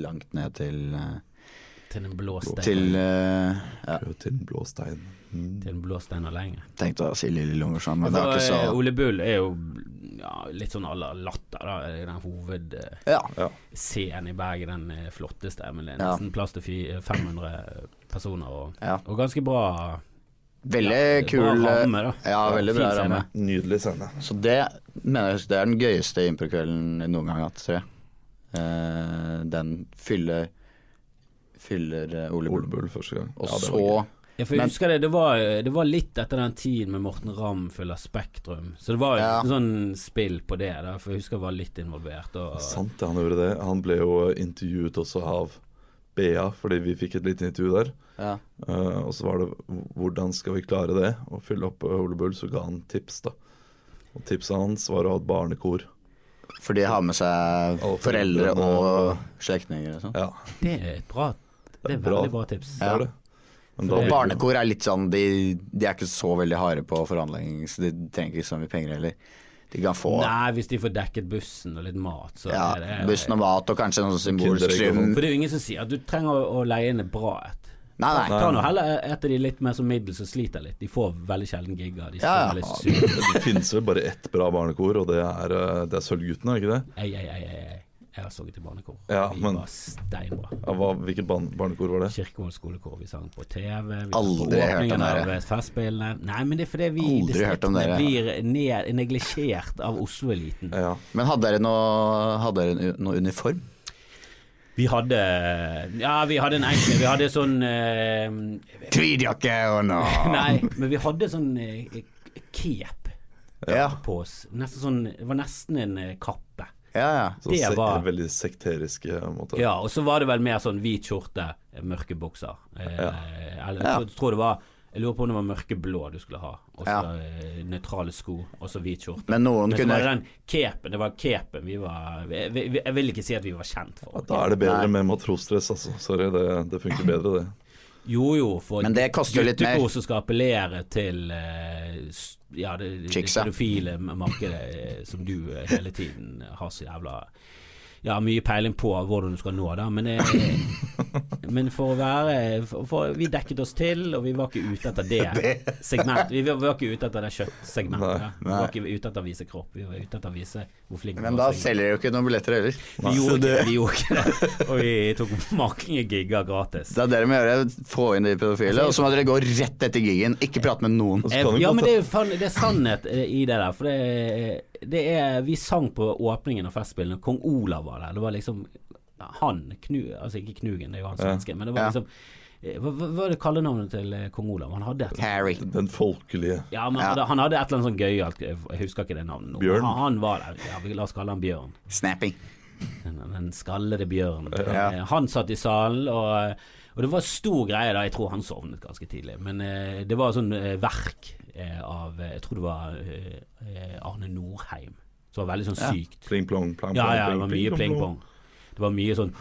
Speaker 3: langt ned til, eh,
Speaker 1: Til den blå steinen. Til,
Speaker 3: til eh, ja,
Speaker 2: Prøv til den blå steinen. Mm.
Speaker 1: den blå steinen lenge.
Speaker 3: Tenkte å si Lille Lungersson, men det
Speaker 1: For,
Speaker 3: var ikke
Speaker 1: eh,
Speaker 3: så
Speaker 1: Ole Bull er jo ja, litt sånn alle latter, da. i Den hovedscenen
Speaker 3: Ja,
Speaker 2: Ja.
Speaker 1: i Bergen, den eh, flotteste. Men det er
Speaker 3: Ja.
Speaker 1: nesten plass til fi- 500 personer, og,
Speaker 3: Ja.
Speaker 1: og ganske bra.
Speaker 3: veldig
Speaker 1: ja,
Speaker 3: kul
Speaker 1: Bra
Speaker 3: eh,
Speaker 1: ramme, da.
Speaker 3: Ja, veldig
Speaker 1: Fin
Speaker 3: bra
Speaker 1: scene.
Speaker 3: ramme.
Speaker 2: Nydelig scene.
Speaker 3: Så det mener jeg det er den gøyeste improkvelden jeg noen gang har hatt, tror jeg. Eh, den fyller fyller eh, Ole Bull.
Speaker 2: Ole Bull første gang.
Speaker 3: Og
Speaker 2: Ja, det var
Speaker 3: så
Speaker 1: Ja, for jeg
Speaker 3: Men-
Speaker 1: husker det, det var, det var litt etter den tiden med Morten Ramm fyller Spektrum. Så det var jo
Speaker 3: Ja.
Speaker 1: et sånn spill på det, da, for jeg husker jeg var litt involvert.
Speaker 2: gøy.
Speaker 1: Og,
Speaker 2: Sant det, han gjorde det. Han ble jo eh, intervjuet også av BA, fordi vi fikk et lite intervju der.
Speaker 3: ja.
Speaker 2: Eh, og så var det h- hvordan skal vi klare det, å fylle opp eh, Ole Bull, så ga han tips, da. Og tipset hans var å ha et barnekor.
Speaker 3: For de har med seg
Speaker 2: Og
Speaker 3: foreldre
Speaker 2: foreldrene og-
Speaker 3: og slektninger og sånn.
Speaker 2: Ja,
Speaker 1: det er et bra Det er
Speaker 2: bra.
Speaker 1: veldig bra tips.
Speaker 2: det er det. Men da-
Speaker 3: Og barnekor er litt sånn de, de er ikke så veldig harde på forhandling, så de trenger ikke så mye penger heller. De kan få
Speaker 1: Nei, hvis de får dekket bussen og litt mat, så
Speaker 3: ja,
Speaker 1: er det
Speaker 3: bussen og mat og kanskje noe symbolsk
Speaker 2: Kinderegg og
Speaker 3: sum.
Speaker 2: sånt.
Speaker 1: For det er jo ingen som sier at du trenger å, å leie inn et bra et.
Speaker 3: Nei, nei.
Speaker 1: Ta nå heller e, et av de litt mer som middels som sliter litt. De får veldig sjelden gigger. De
Speaker 3: Ja, ja.
Speaker 1: ser veldig sure ut.
Speaker 2: *laughs* Det finnes vel bare ett bra barnekor, og det er, eh, det er Sølvguttene, er ikke det?
Speaker 1: Ei, ei, ei, ei, ei. Jeg har sunget i barnekor.
Speaker 2: Ja,
Speaker 1: vi
Speaker 2: men-
Speaker 1: var steinbra.
Speaker 2: Ja, hva, hvilket barn, barnekor var det?
Speaker 1: Kirkevoll skolekor. Vi sang på TV. Vi
Speaker 3: Aldri hørt om
Speaker 1: åpningen
Speaker 3: dere.
Speaker 1: av Festspillene. Nei, men det er fordi vi i
Speaker 3: Aldri hørt om
Speaker 1: distriktene
Speaker 3: dere.
Speaker 1: blir ned, neglisjert av Oslo-eliten.
Speaker 2: Ja.
Speaker 3: Men hadde dere noe, hadde dere noe uniform?
Speaker 1: Vi hadde Ja, vi hadde en enkel Vi hadde sånn eh,
Speaker 3: Tweedjakke og *laughs* noe
Speaker 1: Nei, men vi hadde sånn eh, cape
Speaker 3: Ja,
Speaker 1: på oss. Nesten sånn Det var nesten en eh, kappe.
Speaker 3: ja, ja.
Speaker 2: Så
Speaker 1: Det
Speaker 2: sek-
Speaker 1: var-
Speaker 2: veldig sekterisk eh, måte.
Speaker 1: Ja, og så var det vel mer sånn hvit skjorte, eh, mørke bukser. Eh, Eller jeg
Speaker 3: Ja.
Speaker 1: tror, tror det var Jeg lurer på om det var mørkeblå du skulle ha, og så
Speaker 3: Ja.
Speaker 1: eh, nøytrale sko, og så hvit skjorte.
Speaker 3: Men noen
Speaker 1: Men så
Speaker 3: kunne
Speaker 1: var det den capen, det var capen vi var vi, vi, vi- Jeg vil ikke si at vi var kjent for.
Speaker 2: Da er det bedre
Speaker 3: Nei.
Speaker 2: med matrosdress, altså. Sorry, det, det funker bedre, det.
Speaker 1: Jo jo, for
Speaker 3: Men det koster jo litt mer.
Speaker 1: guttekor som skal appellere til eh, s- ja, det, det
Speaker 3: Chicksa.
Speaker 1: pedofile markedet eh, som du eh, hele tiden har så jævla ja, mye peiling på hvordan du skal nå det, men, eh, men for å være for, for Vi dekket oss til, og vi var ikke ute etter
Speaker 3: *laughs*
Speaker 1: det segmentet. Vi var ikke ute etter det kjøttsegmentet.
Speaker 2: Nei,
Speaker 1: Vi var ikke ute etter å vise kropp, vi var ute etter å vise hvor flink vi
Speaker 3: Men
Speaker 1: var. til
Speaker 3: da
Speaker 1: å synge.
Speaker 3: selger dere jo ikke noen billetter heller.
Speaker 1: Vi gjorde ikke det, vi gjorde ikke det. Og vi tok mange gigger gratis.
Speaker 3: Det er dere må gjøre, få inn de
Speaker 2: Altså,
Speaker 3: pedofile, og så må dere gå rett etter gigen. Ikke prate med
Speaker 2: Og
Speaker 3: noen.
Speaker 2: så kan vi
Speaker 1: Eh, Ja,
Speaker 2: godt-
Speaker 1: men det er, jo fan, det er sannhet eh, i det der. For det, det er Vi sang på åpningen av Festspillene, og kong Olav var der. Det var liksom han knu, Altså ikke Knugen, det er jo han
Speaker 2: Ja.
Speaker 1: svenske, men det var
Speaker 3: Ja.
Speaker 1: liksom eh, Hva, hva hva er det kallenavnet til eh, kong Olav? Han hadde et
Speaker 3: Harry.
Speaker 2: Den folkelige.
Speaker 1: ja, men
Speaker 3: Ja.
Speaker 1: hadde- Han hadde et eller annet sånn gøyalt Jeg husker ikke det navnet nå.
Speaker 2: Bjørn.
Speaker 1: Han, han var der. Ja, vi, la oss kalle han Bjørn.
Speaker 3: Snapping.
Speaker 1: Den, *laughs* den skallede bjørnen.
Speaker 3: Ja.
Speaker 1: Eh, Han satt i salen, og, og det var stor greie da. Jeg tror han sovnet ganske tidlig. Men eh, det var sånn eh, verk eh, av eh, Jeg tror det var eh, eh, Arne Norheim. Som var veldig sånn
Speaker 3: Ja.
Speaker 1: sykt.
Speaker 2: Pling plong, plang,
Speaker 1: Ja,
Speaker 2: plong,
Speaker 1: ja, det
Speaker 2: pling,
Speaker 1: var mye pling-pong. Det var mye
Speaker 3: *laughs*
Speaker 1: sånn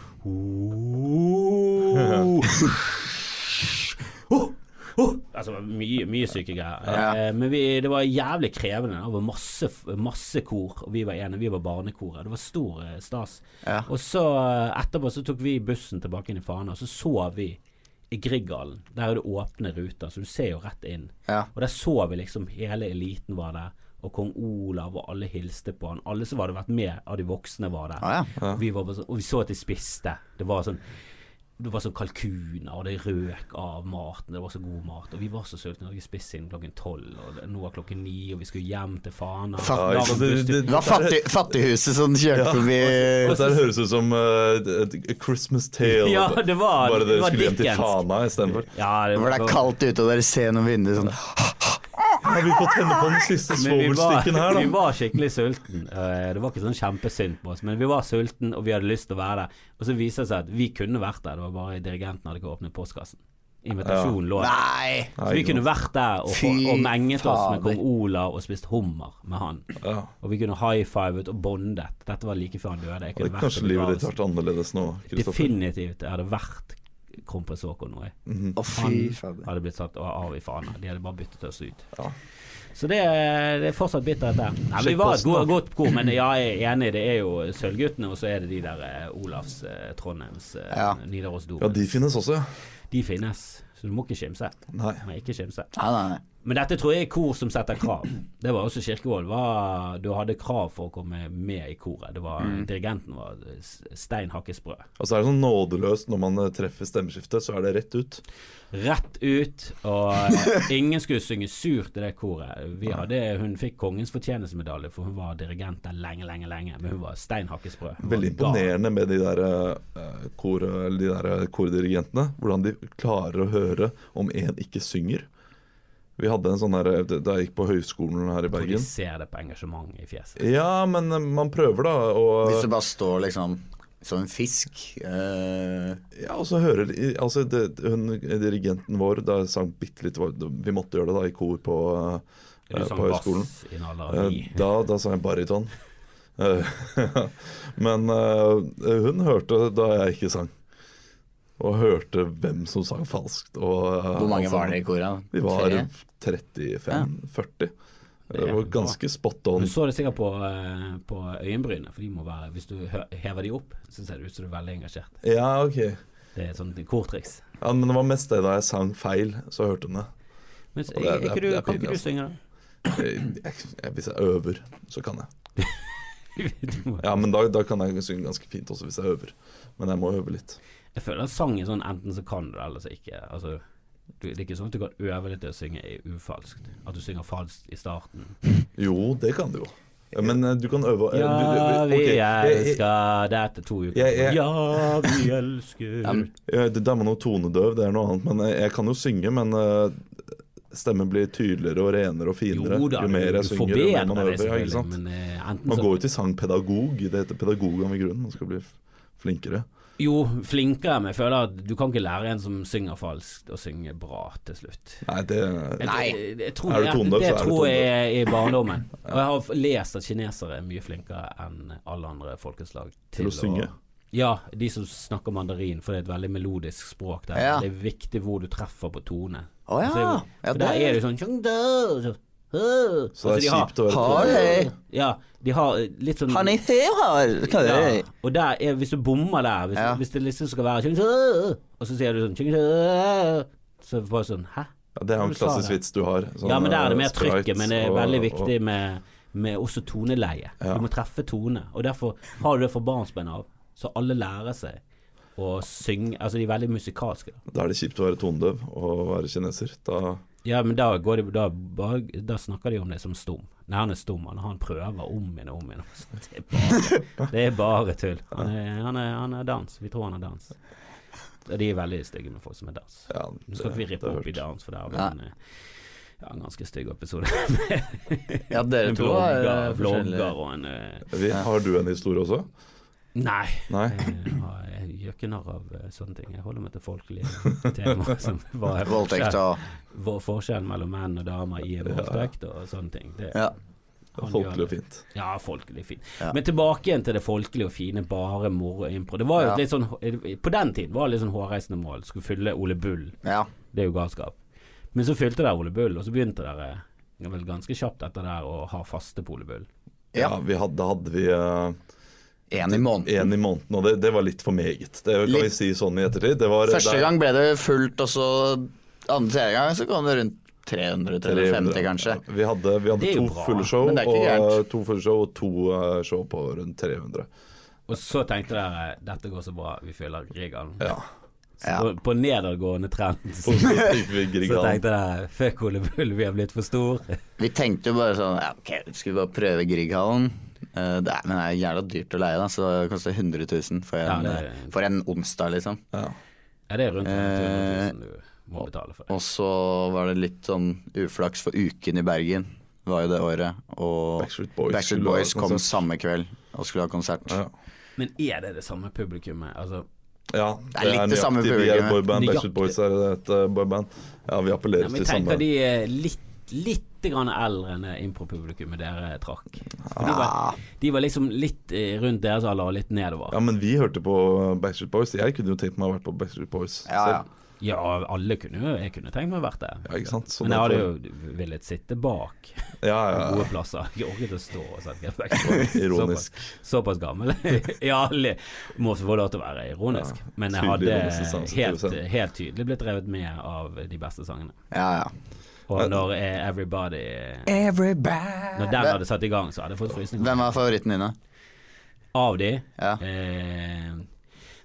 Speaker 1: Altså mye, mye syke greier.
Speaker 3: Ja.
Speaker 1: Eh, Men vi, det var jævlig krevende. Det var masse, masse kor, og vi var ene. Vi var barnekoret. Det var stor eh, stas.
Speaker 3: Ja.
Speaker 1: Og så eh, etterpå så tok vi bussen tilbake inn i Fana, og så sov vi i Grieghallen. Der er det åpne ruter, så du ser jo rett inn.
Speaker 3: Ja.
Speaker 1: Og der så vi liksom hele eliten var der, og kong Olav og alle hilste på han. Alle som hadde vært med av de voksne var der.
Speaker 3: Ah, ja.
Speaker 1: Og, vi var bare sånn, og vi så at de spiste. Det var sånn det var sånn kalkuner, og det røk av maten. Det var så god mat. Og vi var så sultne. Vi hadde spist siden klokken tolv, og det- nå er klokken ni, og vi skulle hjem til Fana.
Speaker 3: Fuck.
Speaker 1: Lang
Speaker 2: Ja, det, det,
Speaker 1: busstur.
Speaker 2: det,
Speaker 3: Det var fattig, fattighuset som kjørte forbi
Speaker 2: Dette her høres ut som eh, A Christmas Tale.
Speaker 1: Ja, det var-
Speaker 2: Bare
Speaker 1: det
Speaker 2: dere
Speaker 1: var
Speaker 2: skulle hjem til
Speaker 1: Dickens.
Speaker 2: Fana istedenfor.
Speaker 1: Ja, det
Speaker 3: hvor det
Speaker 2: altså.
Speaker 3: er kaldt ute, og dere ser noen vinduer sånn
Speaker 2: Har vi fått henne på den siste
Speaker 1: Men vi
Speaker 2: svovelstikken her,
Speaker 1: var, vi
Speaker 2: da?
Speaker 1: var skikkelig sulten Eh, Det var ikke sånn kjempesynd på oss, men vi var sulten og vi hadde lyst til å være der. Og så viser det seg at vi kunne vært der, det var bare dirigenten hadde ikke åpnet postkassen. Invitasjonen lå der.
Speaker 3: Nei!
Speaker 1: Så vi kunne vært der og,
Speaker 3: Fy
Speaker 1: og menget oss med
Speaker 3: fader.
Speaker 1: kong Olav og spist hummer med han.
Speaker 2: Ja.
Speaker 1: Og vi kunne high-fivet og bondet. Dette var like før han døde. Jeg kunne
Speaker 2: Hadde
Speaker 1: vært
Speaker 2: kanskje
Speaker 1: på
Speaker 2: livet ditt
Speaker 1: begravelsen.
Speaker 2: vært annerledes nå, Kristoffer.
Speaker 1: Definitivt. Jeg hadde vært kronprins Haakon nå, jeg.
Speaker 2: Mm.
Speaker 3: Å, fy fader.
Speaker 1: Hadde blitt satt av i fana. De hadde bare byttet oss ut.
Speaker 2: Ja.
Speaker 1: Så det, er- det er fortsatt bittert der. Nei, vi
Speaker 2: Sjekk
Speaker 1: var et
Speaker 2: posten,
Speaker 1: godt, godt kor, men ja, jeg er enig, det er jo Sølvguttene, og så er det de der eh, Olavs, eh, Trondheims, eh,
Speaker 3: Ja.
Speaker 1: Nidaros
Speaker 2: Ja, de
Speaker 1: Dorens.
Speaker 2: finnes også, ja.
Speaker 1: de finnes, så du må ikke skimse.
Speaker 2: Nei.
Speaker 1: Du må ikke skimse.
Speaker 3: Nei, nei, nei.
Speaker 1: Men dette tror jeg er kor som setter krav. Det var også Kirkevold. var- Du hadde krav for å komme med i koret. Det var, Dirigenten var s- stein hakke sprø.
Speaker 2: Og så er det sånn nådeløst når man eh, treffer stemmeskiftet, så er det rett ut.
Speaker 1: Rett ut, og eh, ingen skulle synge surt i det koret. Vi hadde, hun fikk kongens fortjenestemedalje, for hun var dirigent der lenge, lenge, lenge. Men hun var stein hakke sprø. Hun var
Speaker 2: Veldig
Speaker 1: gal.
Speaker 2: imponerende med de der, eh, kor, eller de der eh, kordirigentene. Hvordan de klarer å høre om en ikke synger. Vi hadde en sånn her da jeg gikk på høyskolen her i
Speaker 1: For de
Speaker 2: Bergen.
Speaker 1: ser det på engasjementet i fjeset.
Speaker 2: Ja, men eh, man prøver, da.
Speaker 3: Hvis
Speaker 2: Og,
Speaker 3: du bare står liksom som en fisk eh,
Speaker 2: ja, og så hører de altså, det, hun, Dirigenten vår da jeg sang bitte litt var- Vi måtte gjøre det da i kor på, eh,
Speaker 1: Du sang
Speaker 2: på høyskolen.
Speaker 1: bass i en alder av
Speaker 2: Eh,
Speaker 1: ni.
Speaker 2: Da, da sa jeg baryton. Eh, *laughs* Men eh, hun hørte da jeg ikke sang. Og hørte hvem som sang falskt. Og, eh,
Speaker 3: Hvor mange
Speaker 2: altså,
Speaker 3: var dere i koret?
Speaker 2: Vi var
Speaker 3: Tre?
Speaker 2: 35-40.
Speaker 1: Det
Speaker 2: Det
Speaker 1: er
Speaker 2: var
Speaker 1: bra.
Speaker 2: ganske spot
Speaker 1: Du
Speaker 2: on.
Speaker 1: så det sikkert på, eh, på øyenbrynene, for de må være Hvis du hø- hever de opp, så ser det ut som du er veldig engasjert.
Speaker 2: Ja, ok.
Speaker 1: Det er et sånt kortriks.
Speaker 2: Ja, men det var mest det da jeg sang feil, så hørte hun det.
Speaker 1: Men så,
Speaker 2: Og det
Speaker 1: er
Speaker 2: er-
Speaker 1: eh, ikke
Speaker 2: det er-
Speaker 1: du,
Speaker 2: det er
Speaker 1: kan ikke
Speaker 2: pinlig, altså.
Speaker 1: du synge, da?
Speaker 2: Eh, jeg- Hvis jeg øver, så kan jeg.
Speaker 3: *laughs*
Speaker 1: Du må-
Speaker 2: Ja, men da, da kan jeg synge ganske fint også, hvis jeg øver. Men jeg må øve litt.
Speaker 1: Jeg føler at sang er sånn enten så kan du det, eller så ikke. Altså, du, det er ikke sånn at du kan øve litt til å synge i ufalskt. At du synger falskt i starten.
Speaker 2: Jo, det kan du jo. Ja, Men eh, du kan øve og
Speaker 1: Ja, vi
Speaker 2: jeg,
Speaker 1: elsker Dette to uker.
Speaker 2: Jeg- jeg-
Speaker 1: Ja, vi elsker
Speaker 3: Ja, men-
Speaker 2: Ja, det der med noe tonedøv, det er noe annet. Men jeg, jeg kan jo synge, men eh, stemmen blir tydeligere og renere og finere
Speaker 1: Jo da,
Speaker 2: jo mer jeg
Speaker 1: du
Speaker 2: synger. Jo mer
Speaker 1: forbedrer
Speaker 2: man
Speaker 1: deg
Speaker 2: øver, ja, ikke
Speaker 1: selvfølgelig,
Speaker 2: sant?
Speaker 1: men eh, enten
Speaker 2: Man
Speaker 1: så
Speaker 2: går jo til sangpedagog. Det heter pedagog av grunn. Man skal bli f- flinkere.
Speaker 1: Jo, flinkere, men jeg føler at du kan ikke lære en som synger falskt, å synge bra til slutt.
Speaker 2: Nei, det
Speaker 1: Jeg-
Speaker 3: Nei.
Speaker 1: Jeg, jeg tror,
Speaker 2: Er du
Speaker 1: det-
Speaker 2: tondøv,
Speaker 1: det
Speaker 2: så er du
Speaker 1: tror jeg er i
Speaker 2: *laughs*
Speaker 1: barndommen. Og jeg har lest at kinesere er mye flinkere enn alle andre folkeslag
Speaker 2: Til å synge.
Speaker 1: Ja, de som snakker mandarin, for det er et veldig melodisk språk der.
Speaker 3: Ja.
Speaker 1: Det er viktig hvor du treffer på tone.
Speaker 3: Å ja.
Speaker 1: Så jeg-
Speaker 3: Ja,
Speaker 1: for der
Speaker 3: det-
Speaker 1: er det jo sånn «Chengdø», så, «Hø».
Speaker 2: Så det
Speaker 1: Altså,
Speaker 2: er
Speaker 1: de har-
Speaker 2: kjipt å være
Speaker 3: Har jeg?
Speaker 1: Ja, de har eh, litt sånn
Speaker 3: Han er her! Hva er
Speaker 1: ja,
Speaker 3: det?
Speaker 1: og der er, hvis du bommer der, hvis,
Speaker 3: Ja.
Speaker 1: hvis det liksom skal være «Chengdø», Og så sier du sånn «Chengdø», Så er det bare sånn Hæ?
Speaker 2: Ja, det er jo
Speaker 1: Du
Speaker 2: en
Speaker 1: sa
Speaker 2: klassisk
Speaker 1: det.
Speaker 2: vits du har. sånn,
Speaker 1: Ja, men der er det
Speaker 2: eh,
Speaker 1: mer trykket, men det er
Speaker 2: sprites og-
Speaker 1: veldig viktig med, med også toneleie. Du må treffe tone, og derfor har du det fra barnsben av. Så alle lærer seg å synge Altså, de er veldig musikalske. da.
Speaker 2: Og, da er det kjipt å være tonedøv og være kineser. Da
Speaker 1: Ja, men da, går de, da, bare, da snakker de om det som stum. Nei, han er stum, han, han prøver om igjen og om igjen. *laughs* Så Det er bare, det er bare tull. Han er, han, er, han er dans. Vi tror han er dans. Og De er veldig stygge med folk som er dans.
Speaker 2: ja,
Speaker 1: Nå skal ikke vi
Speaker 2: det
Speaker 1: rippe
Speaker 2: har
Speaker 1: opp i
Speaker 2: jeg hørt.
Speaker 1: dans, for det er
Speaker 3: Nei.
Speaker 1: vel en, eh, ja, en ganske stygg episode. *laughs*
Speaker 3: Ja, dere
Speaker 1: En
Speaker 3: to eh, er
Speaker 1: blogger,
Speaker 3: forskjellige.
Speaker 1: blogger og en eh,
Speaker 2: Vi, har du en historie også?
Speaker 1: Nei.
Speaker 2: Nei?
Speaker 1: *laughs* Jeg har- jeg gjør ikke narr av eh, sånne ting. Jeg holder meg til folkelige temaer *laughs* som
Speaker 2: *laughs*
Speaker 1: hva er
Speaker 3: Voldtekt
Speaker 1: forskjell-
Speaker 3: og
Speaker 1: hva er forskjellen mellom menn og damer i en
Speaker 2: Ja.
Speaker 1: voldtekt og sånne ting. Det,
Speaker 3: Ja.
Speaker 1: han gjør
Speaker 2: Folkelig og
Speaker 1: det.
Speaker 2: fint.
Speaker 1: Ja, folkelig fint.
Speaker 3: Ja.
Speaker 1: Men tilbake igjen til det folkelige og fine, bare moro og impro. Det var jo
Speaker 3: Ja.
Speaker 1: et litt sånn På den tiden var det litt sånn hårreisende mål. Skulle fylle Ole Bull.
Speaker 3: ja.
Speaker 1: Det er jo galskap. Men så fylte dere Ole Bull, og så begynte dere eh, vel ganske kjapt etter der å ha faste på Ole Bull.
Speaker 2: Ja,
Speaker 3: Ja.
Speaker 2: vi hadde, da hadde vi eh,
Speaker 3: En i måneden.
Speaker 2: én i måneden, og det, det var litt for meget. Det kan vi
Speaker 3: Litt.
Speaker 2: si sånn i ettertid. Det var,
Speaker 3: Første
Speaker 2: det er-
Speaker 3: gang ble det fullt, og så andre tredje gang så kom det rundt 300-350, kanskje.
Speaker 2: Vi hadde, vi hadde
Speaker 1: Det er jo
Speaker 2: to
Speaker 1: bra,
Speaker 2: fulle show
Speaker 3: men det er ikke
Speaker 2: og
Speaker 3: gærent.
Speaker 2: to fulle show og to eh, show på rundt 300.
Speaker 1: Og så tenkte dere dette går så bra, vi fyller Grieghallen.
Speaker 2: Ja.
Speaker 1: Så
Speaker 3: Ja.
Speaker 1: På, på nedadgående trend så,
Speaker 3: *laughs*
Speaker 2: Og så fikk vi
Speaker 1: så
Speaker 2: Grieghallen.
Speaker 1: tenkte dere fuck Ole Bull, vi har blitt for stor.
Speaker 3: Vi tenkte jo bare sånn ja, ok, skal vi bare prøve Grieghallen? Eh, det er, men det er jævla dyrt å leie, da, så det koster 100 000 for en, eh,
Speaker 1: Ja, det er-
Speaker 3: for en onsdag, liksom.
Speaker 2: Ja.
Speaker 1: Ja, det er rundt
Speaker 3: Eh,
Speaker 1: 100 000 du må betale for det.
Speaker 3: Og så var det litt sånn uflaks for Uken i Bergen, var jo det året. Og
Speaker 2: Backstreet Boys
Speaker 3: Backstreet
Speaker 2: skulle
Speaker 3: Boys
Speaker 2: ha
Speaker 3: kom
Speaker 2: konsert.
Speaker 3: samme kveld og skulle ha konsert.
Speaker 2: Ja.
Speaker 1: Men er det det samme publikummet? Altså,
Speaker 2: ja,
Speaker 3: Det er litt det samme
Speaker 2: nøyaktig. Vi er et
Speaker 3: publikummet.
Speaker 2: boyband.
Speaker 1: Nøyaktig.
Speaker 2: Backstreet Boys er et eh, boyband. Ja, vi
Speaker 1: nei,
Speaker 2: appellerer
Speaker 1: men jeg
Speaker 2: til samme
Speaker 1: tenker de er litt Litt grann eldre enn det impropublikummet dere trakk. For de,
Speaker 3: Ja.
Speaker 1: var, de var liksom litt eh, rundt deres alder og litt nedover.
Speaker 2: Ja, men vi hørte på Backstreet Boys. Jeg kunne jo tenkt meg å ha vært på Backstreet Boys
Speaker 3: Ja, ja.
Speaker 2: selv.
Speaker 1: Ja, alle kunne jo Jeg kunne tenkt meg å vært der.
Speaker 2: Ja, ikke sant? Så
Speaker 1: Men jeg hadde
Speaker 2: derfor-
Speaker 1: jo villet sitte bak
Speaker 2: ja, ja,
Speaker 1: gode
Speaker 2: ja.
Speaker 1: plasser. *laughs* Jeg orket å stå og sette backstreet.
Speaker 2: *laughs* Ironisk.
Speaker 1: Såpass, såpass gammel. *laughs* ja, le- må få lov til å være ironisk.
Speaker 2: Ja,
Speaker 1: Men jeg
Speaker 2: tydelig
Speaker 1: hadde
Speaker 2: ironisk distanse til
Speaker 1: helt,
Speaker 2: seg selv.
Speaker 1: helt tydelig blitt revet med av de beste sangene.
Speaker 3: Ja, ja.
Speaker 1: Og når eh, Everybody
Speaker 3: Everybody
Speaker 1: Når den hadde satt i gang, så hadde jeg fått frysninger.
Speaker 3: Hvem er favoritten din, da?
Speaker 1: Av de
Speaker 3: Ja.
Speaker 1: eh,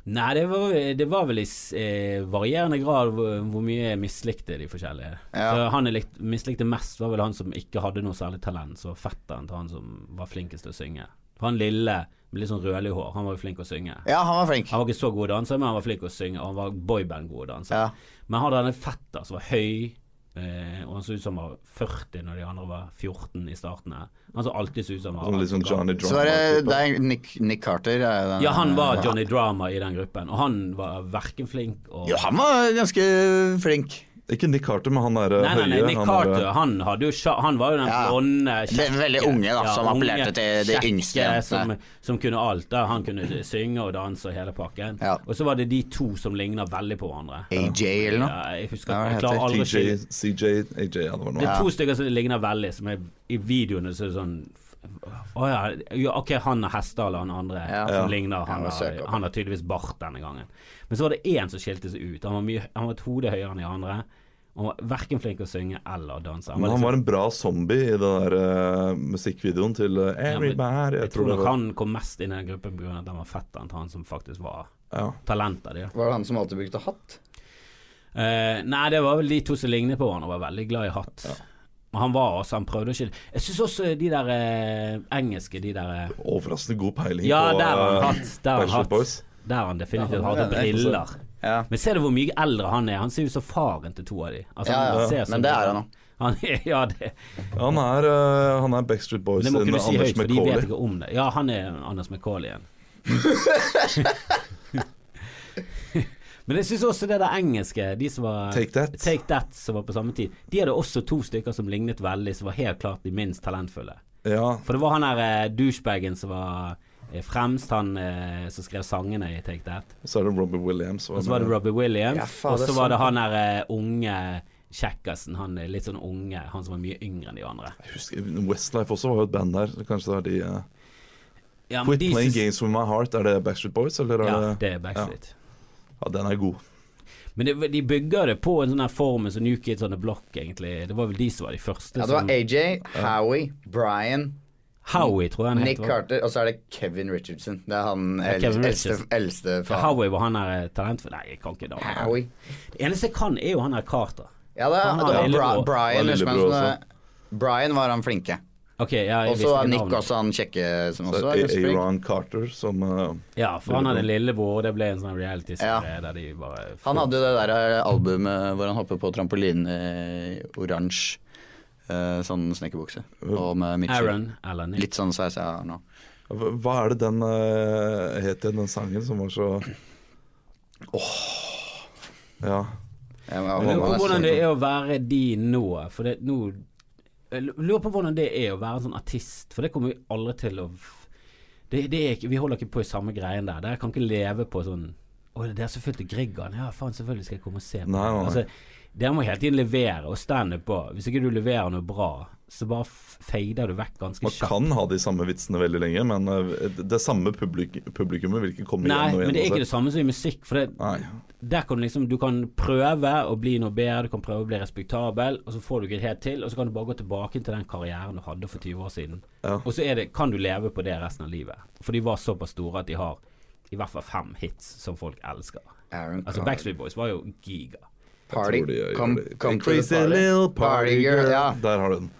Speaker 1: Nei, det var, det var vel i s- eh, varierende grad hvor, hvor mye jeg mislikte de forskjellige.
Speaker 3: Ja.
Speaker 1: Så han jeg lik- mislikte mest, var vel han som ikke hadde noe særlig talent, så fetteren til han som var flinkest til å synge. For han lille med litt sånn rødlig hår, han var jo flink å synge.
Speaker 3: Ja, han var flink.
Speaker 1: Han var ikke så god danser, men han var flink å synge, og han var boyband-god danser.
Speaker 3: Ja.
Speaker 1: Men han hadde en fetter som var høy, eh, og han så ut som han var 40 når de andre var 14 i starten her. Han så alltid så ut som han
Speaker 2: Sånn
Speaker 1: var
Speaker 2: litt sånn
Speaker 1: gammel.
Speaker 2: Johnny
Speaker 3: Så var det
Speaker 2: Drama.
Speaker 3: deg, Nick, Nick Carter. Er jo den,
Speaker 1: Ja, han var
Speaker 3: Ah.
Speaker 1: Johnny Drama i den gruppen, og han var verken flink og
Speaker 3: Jo, han var ganske flink.
Speaker 2: Ikke Nick Carter, men han derre
Speaker 1: Nei, nei, nei,
Speaker 2: høye.
Speaker 1: Nick
Speaker 2: han eh,
Speaker 1: Carter,
Speaker 2: derre-
Speaker 1: han, hadde jo, sja- han var jo den
Speaker 3: Ja.
Speaker 1: blonde
Speaker 3: Det er veldig unge, da, som appellerte til de
Speaker 1: kjekke
Speaker 3: yngste, ja.
Speaker 1: Som,
Speaker 3: Nei.
Speaker 1: som kunne alt. da Han kunne synge og danse og hele pakken.
Speaker 3: Ja.
Speaker 1: Og så var det de to som ligna veldig på hverandre.
Speaker 3: AJ eller noe.
Speaker 1: Ja, jeg husker
Speaker 3: Ja, hva
Speaker 1: Jeg klarer
Speaker 3: heter
Speaker 1: aldri å skille
Speaker 2: TJ, CJ, AJ, ja, det var noe.
Speaker 1: Det er to stykker som ligner veldig, som er i videoene så er det sånn Å ja, ja, ok, han har hester, eller han andre
Speaker 3: Ja.
Speaker 1: som
Speaker 2: Ja.
Speaker 1: ligner. Han,
Speaker 3: Ja, søk
Speaker 1: har,
Speaker 3: opp.
Speaker 1: han har tydeligvis bart denne gangen. Men så var det én som skilte seg ut. Han var, mye, han var et hode høyere enn de andre. Han var verken flink til å synge eller danse. liksom-
Speaker 2: Men han var en bra zombie i den der eh, musikkvideoen til eh, Everybody.
Speaker 1: jeg tror
Speaker 2: det
Speaker 1: nok
Speaker 2: var-
Speaker 1: han kom mest inn i den gruppen pga. at han var fetteren til han som faktisk var
Speaker 2: Ja.
Speaker 1: talentet. Ja.
Speaker 3: Var det han som alltid brukte hatt?
Speaker 1: Eh, nei, det var vel de to som lignet på hverandre, og var veldig glad i hatt. Men han var også, han prøvde å skille Jeg syns også de der eh, engelske, de der eh,
Speaker 2: Overraskende god peiling
Speaker 1: Ja,
Speaker 2: på
Speaker 1: der har han
Speaker 2: eh,
Speaker 1: hatt. Der har han
Speaker 2: Backstreet
Speaker 1: hatt.
Speaker 2: Boys.
Speaker 1: Der har han
Speaker 3: Ja,
Speaker 1: definitivt
Speaker 3: han
Speaker 1: hatt
Speaker 3: er
Speaker 1: og
Speaker 3: det.
Speaker 1: briller.
Speaker 3: Ja.
Speaker 1: Men ser du hvor mye eldre han er? Han ser ut som faren til to av de. Altså,
Speaker 3: Ja, ja,
Speaker 1: ser som-
Speaker 3: men det er han også.
Speaker 1: Han er- *laughs* ja, det,
Speaker 2: Han er, eh, han er Backstreet Boys
Speaker 1: det må
Speaker 2: sin
Speaker 1: ikke du si
Speaker 2: Anders
Speaker 1: høyt, for de vet
Speaker 2: McCauley.
Speaker 1: ikke om det. Ja, han er Anders McCauley
Speaker 3: *laughs*
Speaker 1: igjen. Men jeg syns også det der engelske, de som var
Speaker 2: Take That.
Speaker 1: Take That, som var på samme tid, de hadde også to stykker som lignet veldig, som var helt klart de minst talentfulle.
Speaker 2: Ja,
Speaker 1: For det var han der eh, douchebagen som var eh, fremst, han eh, som skrev sangene i Take That.
Speaker 2: så er det Robbie Williams.
Speaker 1: Og så var det Robbie Williams,
Speaker 3: Ja, sånn faen,
Speaker 1: og
Speaker 3: det
Speaker 1: så
Speaker 3: er
Speaker 1: var det
Speaker 3: sant,
Speaker 1: han der eh, unge kjekkasen. Han er litt sånn unge, han som var mye yngre enn de andre.
Speaker 2: Jeg husker, Westlife også var jo et band der. så Kanskje det er de eh,
Speaker 1: Ja, men
Speaker 2: Quit
Speaker 1: de
Speaker 2: Playing
Speaker 1: syns-
Speaker 2: Games With My Heart. Er det Backstreet Boys, eller er
Speaker 1: Ja,
Speaker 2: det
Speaker 1: det er Backstreet.
Speaker 2: Ja, den er god.
Speaker 1: Men det, de bygger det på en sånn her formel som New Kids on the Block, egentlig. Det var vel de som var de første
Speaker 3: Ja, det var
Speaker 1: som
Speaker 3: AJ, Howie, Brian,
Speaker 1: Howie, tror jeg han
Speaker 3: Nick
Speaker 1: het. var.
Speaker 3: Carter, og så er det Kevin Richardson. Det er han
Speaker 1: Ja, Kevin
Speaker 3: eldste, eldste,
Speaker 1: Richardson.
Speaker 3: eldste
Speaker 1: Ja,
Speaker 3: faen.
Speaker 1: Howie var han der eh, talent for Nei, jeg kan ikke da.
Speaker 3: Howie.
Speaker 1: Det eneste jeg kan, er jo han der Carter.
Speaker 3: Ja, det,
Speaker 1: Han
Speaker 3: er-
Speaker 1: var
Speaker 3: det var Bra,
Speaker 1: lillebror.
Speaker 2: Han
Speaker 3: Brian.
Speaker 2: var
Speaker 3: eller som er
Speaker 2: lillebror
Speaker 3: sånn, Brian var han flinke.
Speaker 1: Ok, ja, jeg
Speaker 3: Og så
Speaker 1: visste
Speaker 3: er
Speaker 1: ikke
Speaker 3: Nick
Speaker 1: navnet.
Speaker 3: også han kjekke som
Speaker 2: Så er
Speaker 3: også er
Speaker 2: det
Speaker 3: ganske flink.
Speaker 2: Eh, Aaron Carter som eh,
Speaker 1: Ja, for han hadde en lillebror, og det ble en sånn reality-serie der de bare
Speaker 3: Han hadde jo det der eh, albumet hvor han hopper på trampoline i oransje. eh, sånn snekkerbukse. Og med midtskill.
Speaker 1: Aaron eller Nick.
Speaker 3: Litt sånn sveis jeg har nå.
Speaker 2: hva- Hva er det den eh, het igjen, den sangen som var så Åh Ja.
Speaker 3: Jeg må-
Speaker 1: Jeg lurer på
Speaker 3: må
Speaker 1: hvordan det
Speaker 3: nesten-
Speaker 1: er å være de nå. For det, nå jeg lurer på hvordan det er å være en sånn artist, for det kommer vi aldri til å det, det er ikke, Vi holder ikke på i samme greien der. Der kan ikke leve på sånn Å, det er selvfølgelig Grieghallen. Ja, faen, selvfølgelig skal jeg komme og se på
Speaker 2: Nei, nei, nei.
Speaker 1: det. Altså, dere må hele tiden levere og standup på. Hvis ikke du leverer noe bra, så bare f- fader du vekk ganske
Speaker 2: Man
Speaker 1: kjapt.
Speaker 2: kan ha de samme vitsene veldig lenge, men eh, det- det samme publik publikummet vil ikke komme
Speaker 1: Nei,
Speaker 2: igjen og igjen.
Speaker 1: men det er ikke det
Speaker 2: uansett.
Speaker 1: samme som i musikk. For det,
Speaker 2: Nei.
Speaker 1: der kan du liksom Du kan prøve å bli noe bedre, du kan prøve å bli respektabel, og så får du ikke helt til, og så kan du bare gå tilbake til den karrieren du hadde for 20 år siden.
Speaker 2: Ja.
Speaker 1: Og så er det, kan du leve på det resten av livet. For de var såpass store at de har i hvert fall fem hits som folk elsker.
Speaker 3: Aaron
Speaker 1: Altså
Speaker 3: Carter.
Speaker 1: Backstreet Boys var jo giga.
Speaker 3: Party.
Speaker 2: Tror de gjør
Speaker 3: Come,
Speaker 2: det.
Speaker 3: come to
Speaker 2: Crazy
Speaker 3: the party.
Speaker 2: little party girl.
Speaker 3: Ja.
Speaker 2: Der har du den.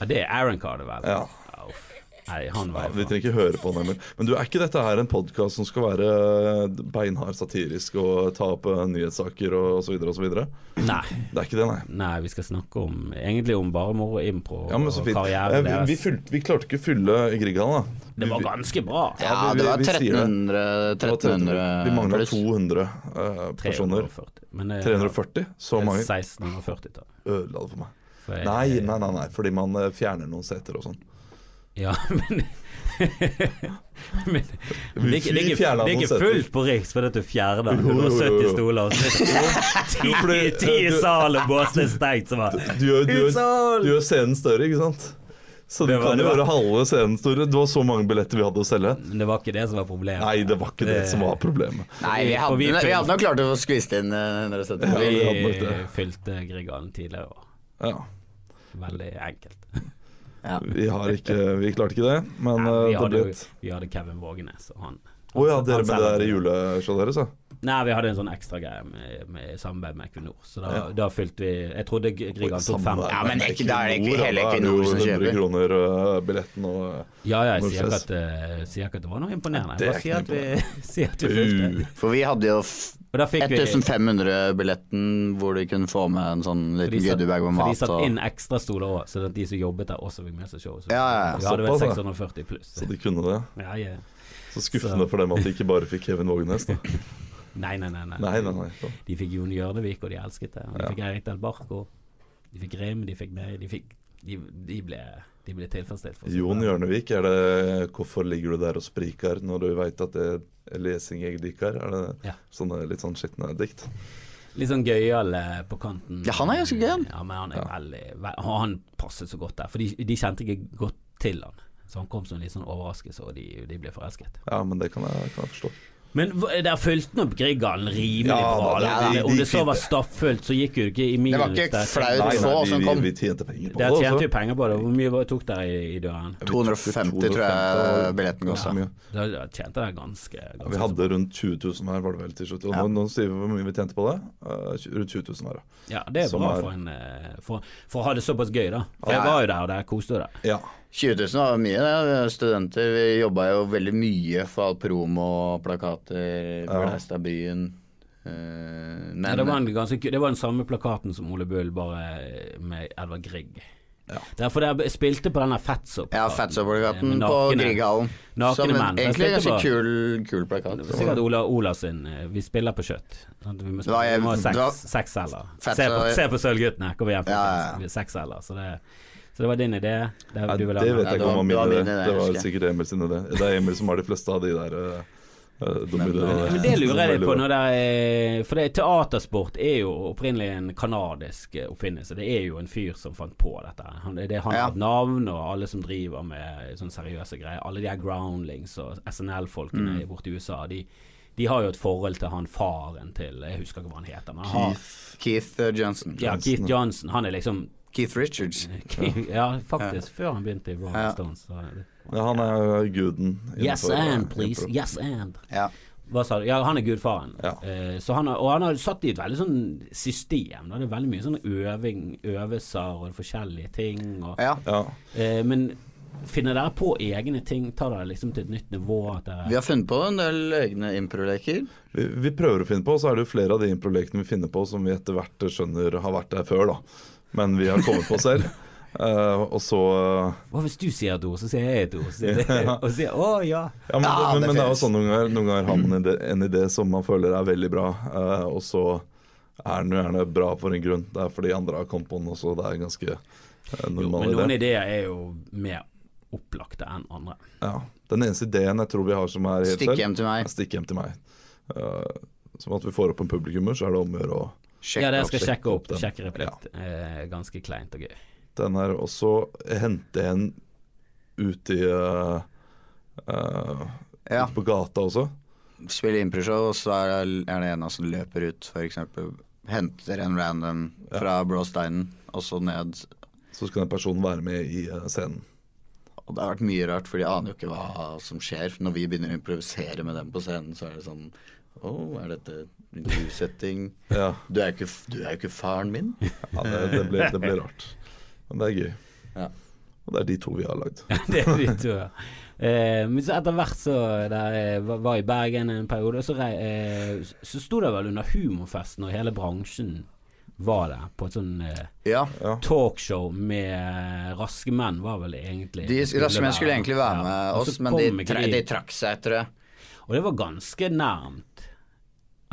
Speaker 1: Ja, det er Aaron Carter, vel?
Speaker 2: Ja.
Speaker 1: uff. Nei, han var
Speaker 2: Ja, vi
Speaker 1: jo faen-
Speaker 2: trenger ikke høre på den, Emil. Men du, er ikke dette her en podkast som skal være eh, beinhard satirisk og ta opp eh, nyhetssaker og osv. osv.? Det
Speaker 1: Nei.
Speaker 2: er ikke det, nei.
Speaker 1: Nei, vi skal snakke om egentlig om bare moro, impro
Speaker 2: Ja, men så
Speaker 1: og
Speaker 2: fint.
Speaker 1: karrieren
Speaker 2: Eh, Vi, vi,
Speaker 1: deres.
Speaker 2: fylte, vi klarte ikke å fylle Grieghallen, da.
Speaker 1: Det var ganske bra.
Speaker 3: Ja,
Speaker 2: vi-
Speaker 3: det var
Speaker 2: vi- vi sier det.
Speaker 3: 1300,
Speaker 2: Det var 300. Vi
Speaker 3: 1300
Speaker 2: mangla
Speaker 3: pluss.
Speaker 2: 200 eh, personer.
Speaker 1: 340. Men eh, det- Eh,
Speaker 2: 340? Så mange
Speaker 1: 1640-tallet.
Speaker 2: ødela det for meg.
Speaker 1: For jeg-
Speaker 2: Nei, nei, nei, nei, fordi man eh, fjerner noen seter og sånn.
Speaker 1: Ja, *laughs* men Men men det, er ikke- det, er
Speaker 2: Vi
Speaker 1: ikke-
Speaker 2: fjerner
Speaker 1: det er ikke
Speaker 2: noen
Speaker 1: fullt på Riks fordi at du fjerner
Speaker 2: altså. jo, jo.
Speaker 1: 170 stoler. og så er det
Speaker 2: Jo, for
Speaker 1: Ti
Speaker 2: det-
Speaker 1: ti i
Speaker 2: *laughs* du-
Speaker 1: salen, båsen er stengt. Så bare
Speaker 2: Du gjør, du, gjør,
Speaker 1: Utsolgt!
Speaker 2: du gjør scenen større, ikke sant? Så du
Speaker 1: Det var-
Speaker 2: kan
Speaker 1: det
Speaker 2: jo
Speaker 1: var-
Speaker 2: gjøre halve scenen større. Det var så mange billetter vi hadde å selge.
Speaker 1: Men det var ikke det som var problemet.
Speaker 2: Nei, det var ikke det
Speaker 1: Det-
Speaker 2: som var problemet.
Speaker 3: Nei, vi hadde,
Speaker 1: Og vi
Speaker 3: vi
Speaker 1: fylte-
Speaker 3: hadde nok klart å få skvist inn eh, 170.
Speaker 2: Ja.
Speaker 1: Vi
Speaker 2: vi hadde nok det.
Speaker 1: fylte Grieghallen tidligere. og-
Speaker 2: Ja.
Speaker 1: Veldig enkelt.
Speaker 3: Ja.
Speaker 2: Vi, har ikke, vi klarte ikke det, men
Speaker 1: Nei, vi,
Speaker 2: eh, det
Speaker 1: hadde
Speaker 2: ble
Speaker 1: jo,
Speaker 2: et
Speaker 1: vi hadde Kevin Vågenes og han.
Speaker 2: Å ja, dere med det
Speaker 1: selger
Speaker 2: der
Speaker 1: det.
Speaker 2: juleshowet deres, ja.
Speaker 1: Nei, vi hadde en sånn ekstra greie med, med samarbeid med Equinor. Så da,
Speaker 2: Ja.
Speaker 1: da fylte vi Jeg trodde G- Grigan tok fem.
Speaker 2: Samarbeid
Speaker 3: Ja, men
Speaker 2: med
Speaker 3: ikke- da er det ikke
Speaker 2: Equinor,
Speaker 3: hele
Speaker 2: da er det jo
Speaker 3: Equinor som
Speaker 2: 100
Speaker 3: kjøper.
Speaker 2: kroner øh, billetten og
Speaker 1: Ja, ja, jeg sier ikke,
Speaker 2: Nordsjøs.
Speaker 1: at, eh, sier ikke at det var noe imponerende.
Speaker 2: Det
Speaker 1: Jeg
Speaker 2: er
Speaker 1: bare sier at
Speaker 2: ikke noe
Speaker 1: vi, *laughs* sier at vi fylte.
Speaker 2: uh,
Speaker 3: For vi hadde jo f-
Speaker 1: Og da fikk vi
Speaker 3: 1500-billetten hvor de kunne få med en sånn
Speaker 1: for de
Speaker 3: liten
Speaker 1: satt-
Speaker 3: goodiebag med
Speaker 1: for de
Speaker 3: mat.
Speaker 1: satt inn
Speaker 3: Og,
Speaker 1: ekstra stoler òg, så at de som jobbet der også fikk med seg showet. Så
Speaker 3: Ja, ja, ja.
Speaker 1: Vi hadde vel
Speaker 2: Såpass, ja.
Speaker 1: 640 pluss.
Speaker 2: Så de kunne det.
Speaker 1: Ja, ja.
Speaker 2: Så skuffende
Speaker 1: Så-
Speaker 2: for dem at de ikke bare fikk Kevin Vågenes. Da.
Speaker 1: Nei, nei, nei. nei.
Speaker 2: Nei, nei, nei. Så.
Speaker 1: De fikk Jon Hjørnevik, og de elsket det. Og de
Speaker 2: Ja.
Speaker 1: fikk Eirik Del Barco. De fikk Grim, de fikk meg. De, fikk, de, de, ble, de ble tilfredsstilt. for å si det.
Speaker 2: Jon Hjørnevik, er det hvorfor ligger du der og spriker når du veit at det er lesing jeg liker? Er det
Speaker 1: Ja.
Speaker 2: sånne litt sånn skitne dikt?
Speaker 1: Litt sånn gøyal eh, på kanten.
Speaker 3: Ja, han er ganske gøyal.
Speaker 1: Ja, men han er veldig ve- og Han passet så godt der, for de, de kjente ikke godt til han. Så han kom som en litt sånn overraskelse, og de, de ble forelsket.
Speaker 2: Ja, men det kan jeg, kan jeg forstå.
Speaker 1: Men hva- der fulgte nå Grieghallen rimelig
Speaker 2: Ja,
Speaker 1: bra.
Speaker 2: da,
Speaker 1: Eller
Speaker 2: de- de
Speaker 1: Om det så
Speaker 2: fylte.
Speaker 1: var stappfullt, så gikk jo det ikke i
Speaker 3: Det
Speaker 1: minus.
Speaker 3: var ikke
Speaker 1: der.
Speaker 3: flaut. liksom.
Speaker 2: Nei,
Speaker 3: Nei,
Speaker 2: nei,
Speaker 3: få som
Speaker 2: vi,
Speaker 3: kom.
Speaker 2: vi tjente penger på det.
Speaker 1: Der tjente
Speaker 2: også.
Speaker 1: jo penger på det. Hvor mye var- tok dere i, i døren?
Speaker 2: Vi tok
Speaker 3: 250 tror jeg
Speaker 2: og-
Speaker 3: billetten
Speaker 2: Ja,
Speaker 3: kosta.
Speaker 2: mye.
Speaker 1: Da da tjente dere ganske,
Speaker 2: Ja, Vi
Speaker 1: ganske
Speaker 2: hadde rundt 20 000 her, var det vel til slutt. Og nå, nå sier vi hvor mye vi tjente på det. Eh, tj- rundt 20 000 her, da.
Speaker 1: Ja, det er
Speaker 2: Som
Speaker 1: bra
Speaker 2: er-
Speaker 1: for, en, eh, for, for å ha det såpass gøy, da. For
Speaker 3: Ja,
Speaker 1: jeg
Speaker 3: ja.
Speaker 1: var jo der, og der koste du deg.
Speaker 3: 20 000 var mye, det. Vi var studenter. Vi jobba jo veldig mye for all promo og plakater.
Speaker 2: Ja.
Speaker 3: Blæsta byen. Eh, men
Speaker 1: Ja, det, var en ganske, ku- det var den samme plakaten som Ole Bull, bare eh, med Edvard Grieg.
Speaker 2: Ja.
Speaker 1: Derfor jeg spilte på denne Fatso-plakaten.
Speaker 3: ja, Fatsopp-plakaten
Speaker 1: Med
Speaker 3: på
Speaker 1: nakne-
Speaker 3: Grieghallen.
Speaker 1: nakne
Speaker 3: Som en,
Speaker 1: menn. Jeg
Speaker 3: egentlig en
Speaker 1: spilte
Speaker 3: ganske
Speaker 1: på-
Speaker 3: kul, kul plakat.
Speaker 1: Sikkert Ola, Ola sin eh, Vi spiller på kjøtt. Sant? Vi må,
Speaker 3: Det var-
Speaker 1: vi må ha
Speaker 3: det var-
Speaker 1: seks, seks celler.
Speaker 3: Fatso-
Speaker 1: Se på, se på Sølvguttene, kom igjen.
Speaker 3: Ja, ja,
Speaker 1: folkens.
Speaker 3: ja.
Speaker 1: Vi er Seks celler. Så det, så det var din idé. Det,
Speaker 2: Ja,
Speaker 1: du
Speaker 2: det
Speaker 1: ville
Speaker 2: vet
Speaker 1: ha med.
Speaker 2: jeg
Speaker 3: det
Speaker 2: ikke
Speaker 3: var-
Speaker 2: om
Speaker 3: det
Speaker 2: var
Speaker 3: var
Speaker 2: min
Speaker 3: min
Speaker 2: idé.
Speaker 3: idé,
Speaker 2: Det var
Speaker 3: husker jeg.
Speaker 2: sikkert Emil sin idé. Det er Emil som har de fleste av de der eh, eh, dumme
Speaker 3: Men-
Speaker 2: ideene.
Speaker 1: Ja, Men det lurer jeg litt på når det er For det, teatersport er jo opprinnelig en kanadisk eh, oppfinnelse. Det er jo en fyr som fant på dette. her. Han, det, han
Speaker 3: Ja.
Speaker 1: har et navn, og alle som driver med sånne seriøse greier, alle de her groundlings og SNL-folkene borte i USA, de, de har jo et forhold til han faren til Jeg husker ikke hva han heter, men han har
Speaker 2: Keith.
Speaker 3: Keith eh, Johnson.
Speaker 1: ja, Keith Johnson. Han er liksom
Speaker 3: Keith Richards.
Speaker 1: *laughs* Ja, faktisk. Før han begynte i Rolling
Speaker 3: Ja.
Speaker 1: Stones. Så.
Speaker 2: Ja, han er guden.
Speaker 1: Yes
Speaker 2: innenfor- eh,
Speaker 1: and, please.
Speaker 2: innenfor-
Speaker 1: Yes and.
Speaker 3: Ja.
Speaker 1: Hva sa du? Ja, han er gudfaren.
Speaker 2: Ja.
Speaker 1: Eh, så han har, og han har satt i et veldig sånn system. Da. Det er veldig mye sånn øving, øvelser og forskjellige ting. Og,
Speaker 3: ja.
Speaker 2: Ja.
Speaker 1: eh, men finner dere på egne ting? Tar dere liksom til et nytt nivå? At dere,
Speaker 3: Vi har funnet på en del egne improleker.
Speaker 2: Vi, vi prøver å finne på, så er det jo flere av de improlekene vi finner på som vi etter hvert skjønner har vært der før, da. Men vi har kommet
Speaker 1: *laughs*
Speaker 2: på selv. Eh, og så
Speaker 1: hva hvis du sier et ord, så sier jeg et ord, så sier det,
Speaker 2: Ja.
Speaker 1: og sier å ja.
Speaker 2: Ja, men,
Speaker 3: Ja,
Speaker 2: men,
Speaker 3: det
Speaker 2: men det er jo
Speaker 3: finnes.
Speaker 2: sånn noen ganger, noen ganger har man en idé, en idé som man føler er veldig bra, eh, og så er den jo gjerne bra for en grunn. Det er fordi andre har kommet på den også, det er en ganske eh,
Speaker 1: Jo, men
Speaker 2: normal
Speaker 1: noen
Speaker 2: idé.
Speaker 1: ideer er jo mer opplagte enn andre.
Speaker 2: Ja. Den eneste ideen jeg tror vi har som er helt
Speaker 3: Stikk
Speaker 2: selv,
Speaker 3: hjem til
Speaker 2: er
Speaker 3: meg.
Speaker 2: stikk hjem til meg. Eh, Som at vi får opp en publikummer, så er det om å gjøre å
Speaker 3: Sjekk
Speaker 1: ja, det jeg
Speaker 3: opp.
Speaker 1: skal sjekke opp.
Speaker 2: den.
Speaker 1: Sjekke replikt. Eh, ganske kleint og gøy.
Speaker 2: den her, og så hente en ut i eh, eh,
Speaker 3: Ja.
Speaker 2: Ut på gata også.
Speaker 3: Spille improshow, og så er det er det en av oss som løper ut, f.eks. Henter en random fra Bråsteinen, og så ned.
Speaker 2: Så skal den personen være med i eh, scenen.
Speaker 3: Og det har vært mye rart, for de aner jo ikke hva som skjer. Når vi begynner å improvisere med dem på scenen, så er det sånn Å, er dette intervjusetting?
Speaker 2: Ja,
Speaker 3: Du er jo ikke, du er jo ikke faren min.
Speaker 2: ja det, det, blir, det blir rart. Men det er gøy.
Speaker 3: Ja.
Speaker 2: Og det er de to vi har lagd.
Speaker 1: *laughs* det er de to, ja. Eh, men så etter hvert så der, eh, var- var i Bergen en periode, og så, rei- eh, så sto det vel under humorfesten, og hele bransjen var der, på et sånn eh,
Speaker 3: Ja.
Speaker 2: Ja.
Speaker 1: talkshow med eh, Raske menn, var vel det egentlig
Speaker 3: De raske menn skulle egentlig være
Speaker 1: Ja, Altså, og så
Speaker 3: med oss, men
Speaker 1: kom
Speaker 3: de,
Speaker 1: ikke
Speaker 3: tra de trakk seg, tror jeg.
Speaker 1: Og det var ganske nærmt.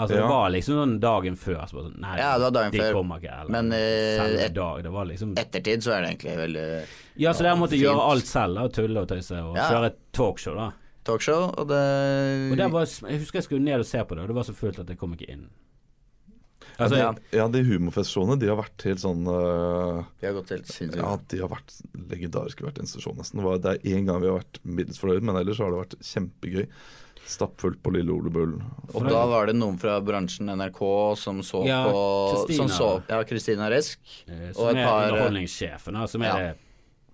Speaker 1: Altså
Speaker 2: Ja.
Speaker 1: Det var liksom sånn dagen før. Så bare sånn, nei,
Speaker 3: Ja, det var dagen
Speaker 1: de
Speaker 3: før.
Speaker 1: kommer ikke. Eller,
Speaker 3: Men, eh,
Speaker 1: selve
Speaker 3: et-
Speaker 1: dag, det var liksom
Speaker 3: Ettertid så er det egentlig veldig
Speaker 1: Ja, så dere måtte
Speaker 3: fint.
Speaker 1: gjøre alt selv, da, og tulle og tøyse, og
Speaker 3: Ja.
Speaker 1: kjøre et talkshow, da.
Speaker 3: talkshow, og det Mm.
Speaker 1: Og der var, jeg husker jeg skulle ned og se på det, og det var så fullt at jeg kom ikke inn. Altså,
Speaker 3: Ja.
Speaker 2: Ja, de humorfestshoene de har vært helt sånn øh,
Speaker 3: Vi har gått helt sinnssykt.
Speaker 2: Ja, de har vært legendariske hvert eneste show, nesten. Det var- Det er én gang vi har vært middels fornøyd, men ellers har det vært kjempegøy. Stappfullt på Lille Ole Bull.
Speaker 3: Og da var det noen fra bransjen NRK som så
Speaker 1: Ja,
Speaker 3: på
Speaker 1: Kristina.
Speaker 3: som så, Ja, Kristina Resk.
Speaker 1: eh,
Speaker 3: og
Speaker 1: Som
Speaker 3: et
Speaker 1: er
Speaker 3: par-
Speaker 1: underholdningssjefen, da, som er
Speaker 3: Ja.
Speaker 1: det,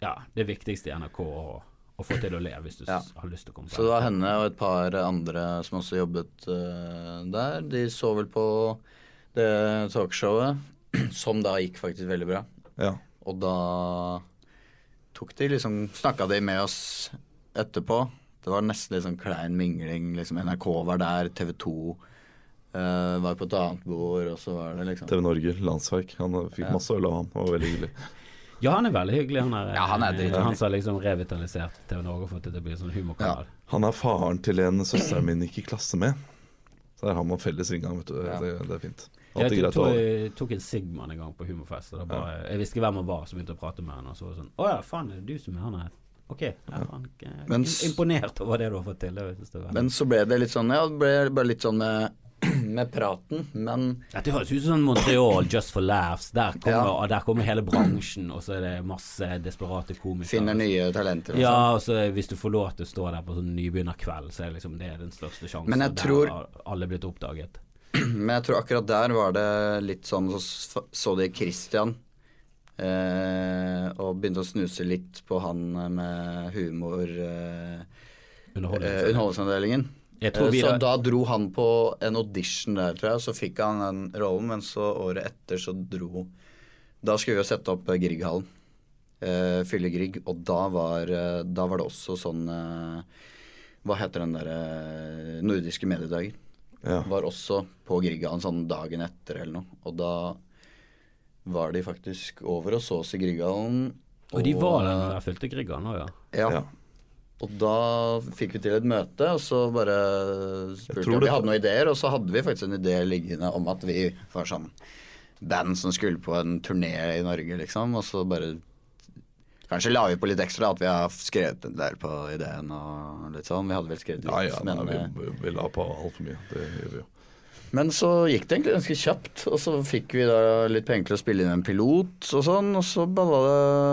Speaker 1: ja, det viktigste i NRK å, å få til å le hvis du s-
Speaker 3: Ja.
Speaker 1: har lyst til å komme
Speaker 3: Så det var henne og et par andre som også jobbet eh, der. De så vel på det talkshowet, *clears throat* som da gikk faktisk veldig bra.
Speaker 2: Ja.
Speaker 3: Og da tok de liksom Snakka de med oss etterpå. Det var nesten litt sånn klein mingling. Liksom NRK var der, TV 2 eh, var på et annet bord, og så var det liksom
Speaker 2: TV Norge, Landsverk. Han eh, fikk masse øl av han, og var veldig hyggelig.
Speaker 1: Ja, han er veldig hyggelig. Han er,
Speaker 3: Ja, han er drithyggelig.
Speaker 1: han som har liksom revitalisert TV Norge og fått det til å bli en sånn humorkanal.
Speaker 2: Han er faren til en søsteren min gikk i klasse med. Så der har man felles inngang, vet du.
Speaker 3: Ja.
Speaker 2: Det, det er fint.
Speaker 1: Jeg
Speaker 2: Alltid
Speaker 1: tok,
Speaker 2: greit å ha.
Speaker 1: tok, tok en Sigman en gang på humorfest. Og da bare, Jeg visste ikke hvem han var, så begynte jeg å prate med han. Og så var det sånn Å ja, faen, er det du som er han her? Ok. Ja, faen, ok.
Speaker 3: Men-
Speaker 1: imponert over det du har fått til. Det, synes jeg var-
Speaker 3: Men så ble det litt sånn Ja, det ble bare litt sånn med, *clears throat* med praten, men
Speaker 1: Dette høres ut som sånn Montreal Just for Laughs. Der kommer,
Speaker 3: Ja.
Speaker 1: og der kommer hele bransjen, og så er det masse desperate komikere.
Speaker 3: finner nye talenter. og sånn.
Speaker 1: Ja, og så hvis du får lov til å stå der på sånn nybegynnerkveld, så er liksom det den største sjansen.
Speaker 3: Men jeg
Speaker 1: Der
Speaker 3: tror-
Speaker 1: har alle blitt oppdaget.
Speaker 3: *clears throat* Men jeg tror akkurat der var det litt sånn Så s- så de Christian eh, og begynte å snuse litt på han eh, med humor eh, eh,
Speaker 1: Underholdning.
Speaker 3: underholdningsavdelingen.
Speaker 1: Jeg tror
Speaker 3: Eh,
Speaker 1: vi
Speaker 3: Så
Speaker 1: da-
Speaker 3: da dro han på en audition der, tror jeg, og så fikk han den rollen, men så året etter så dro Da skulle vi jo sette opp eh, Grieghallen. Eh, Fyllegrigg, og da var, eh, da var det også sånn eh, Hva heter den derre eh, nordiske mediedager?
Speaker 2: Ja.
Speaker 3: Var også på Grieghallen sånn dagen etter eller noe, og da var de faktisk over og så oss i Grieghallen.
Speaker 1: Og de var der når jeg fylte Grieghallen nå, ja.
Speaker 3: Ja.
Speaker 2: Ja.
Speaker 3: Og da fikk vi til et møte, og så bare
Speaker 2: Jeg
Speaker 3: spurte vi
Speaker 2: tror
Speaker 3: om vi
Speaker 2: det-
Speaker 3: hadde noen ideer. Og så hadde vi faktisk en idé liggende om at vi var sånn band som skulle på en turné i Norge, liksom. Og så bare Kanskje la vi på litt ekstra, at vi har skrevet en del på ideen og litt sånn. Vi hadde vel skrevet litt,
Speaker 2: Ja, ja, nei,
Speaker 3: men,
Speaker 2: vi,
Speaker 3: eh,
Speaker 2: vi, vi la på altfor mye. Det gjør vi jo.
Speaker 3: men så gikk det egentlig ganske kjapt, og så fikk vi da litt penger til å spille inn en pilot og sånn, og så balla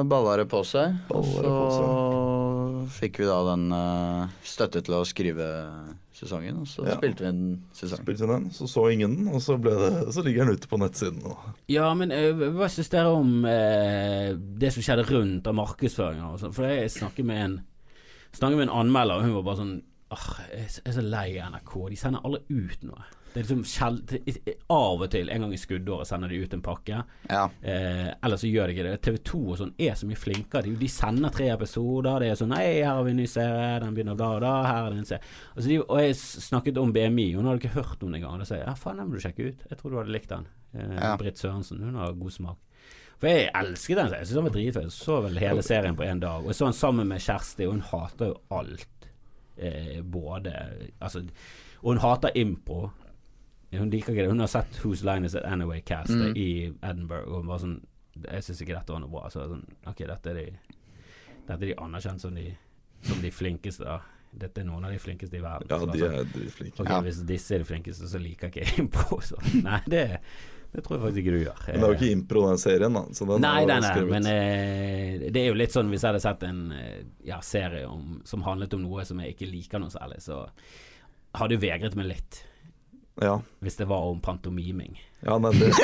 Speaker 3: det, balla det på seg.
Speaker 2: Balla
Speaker 3: Og
Speaker 2: det
Speaker 3: så
Speaker 2: på
Speaker 3: fikk vi da den eh, støtte til å skrive sesongen, og så
Speaker 2: Ja.
Speaker 3: spilte vi en
Speaker 1: Sånn.
Speaker 3: sesong.
Speaker 2: Spilte inn den, så så ingen den, og så, ble det, så ligger den ute på nettsiden. Og,
Speaker 1: Ja, men eh, hva syns dere om eh, det som skjedde rundt av markedsføringer og sånn? For jeg snakket med en Snakket med en anmelder, og hun var bare sånn Åh, jeg er så- jeg er så lei av NRK. De sender aldri ut noe. Det er liksom sjel det- Av og til, en gang i skuddåret, sender de ut en pakke.
Speaker 3: Ja.
Speaker 1: Eh, ellers så gjør de ikke det. TV 2 og sånn er så mye flinkere. De, de sender tre episoder. Det er sånn 'Hei, her har vi en ny serie. Den begynner da og da. Her er det en serie.' Altså, de, og jeg s- snakket om BMI. Hun hadde ikke hørt om det engang. Og da sa jeg 'Ja, faen, den må du sjekke ut. Jeg tror du hadde likt den'. Eh,
Speaker 3: Ja.
Speaker 1: Britt Sørensen. Hun har god smak. For jeg elsket den. serien. Jeg synes den var dritfett. Jeg Så vel hele serien på én dag. Og jeg så den sammen med Kjersti, og hun hater jo alt. Eh, både Altså Og hun hater impro. Hun liker ikke det. Hun har sett Whose Line Is It Anyway Cast
Speaker 3: Mm.
Speaker 1: i Edinburgh, og hun var sånn Jeg syns ikke dette var noe bra. Så jeg var sånn, ok, dette er de Dette er de anerkjent som de, som de flinkeste. da. Dette er noen av de flinkeste i verden.
Speaker 2: ja,
Speaker 1: Så det
Speaker 2: de
Speaker 1: var sånn,
Speaker 2: er dritflinke.
Speaker 1: ok,
Speaker 3: ja.
Speaker 1: Hvis disse er de flinkeste, så liker ikke jeg impro. Så. Nei, det, det tror jeg faktisk ikke du gjør.
Speaker 2: Men det er jo ikke impro, den serien, da. Så den
Speaker 1: Eh. Nei,
Speaker 2: er jo
Speaker 1: nei, nei,
Speaker 2: skrevet.
Speaker 1: men eh, det er jo litt sånn hvis jeg hadde sett en eh, ja, serie om, som handlet om noe som jeg ikke liker noe særlig, så hadde jo vegret meg litt
Speaker 2: ja.
Speaker 1: hvis det var om pantomiming.
Speaker 2: ja, nei, det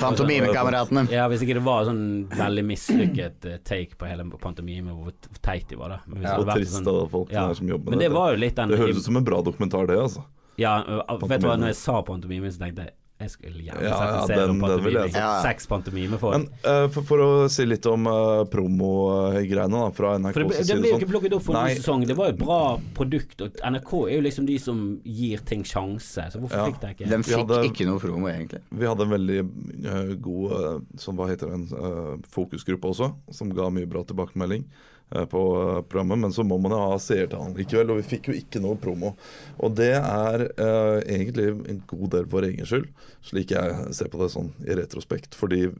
Speaker 3: Pantomimekameratene.
Speaker 1: Ja, Hvis ikke det var sånn veldig mislykket eh, take på hele pantomimen, hvor t- hvor teit de var, da. Men, hvis
Speaker 3: Ja.
Speaker 1: det
Speaker 2: Og
Speaker 1: hadde vært sånn-
Speaker 2: trist av de folkene
Speaker 1: ja.
Speaker 2: her som jobber med
Speaker 1: Men det
Speaker 2: dette.
Speaker 1: var jo litt den
Speaker 2: Det høres ut som en bra dokumentar, det, altså.
Speaker 1: Ja, øh, vet du hva,
Speaker 2: Pantomime.
Speaker 1: når jeg sa pantomimen, så tenkte jeg jeg skulle gjerne
Speaker 2: Ja,
Speaker 1: sett
Speaker 2: ja,
Speaker 1: en serie om
Speaker 2: den- den vil jeg
Speaker 1: pantomiming.
Speaker 2: se.
Speaker 3: Ja, ja.
Speaker 1: Seks pantomimefolk.
Speaker 2: Men eh, for, for å si litt om eh, promo-greiene da, fra NRK
Speaker 1: For det, ble-
Speaker 2: så
Speaker 1: det
Speaker 2: sier
Speaker 1: ble jo
Speaker 2: sånn.
Speaker 1: ikke plukket opp for
Speaker 2: Nei.
Speaker 1: noen sesong. Det var jo et bra produkt. Og NRK er jo liksom de som gir ting sjanse. Så hvorfor
Speaker 2: Ja.
Speaker 1: fikk de ikke
Speaker 3: Den
Speaker 2: Vi
Speaker 3: fikk
Speaker 2: hadde-
Speaker 3: ikke noe promo, egentlig.
Speaker 2: Vi hadde en veldig eh, god eh, sånn, hva heter den, eh, fokusgruppe også, som ga mye bra tilbakemelding eh, på eh, programmet. Men så må man jo ha seertall likevel, og vi fikk jo ikke noe promo. Og det er eh, egentlig en god del for egen skyld, slik jeg ser på det sånn i retrospekt. Fordi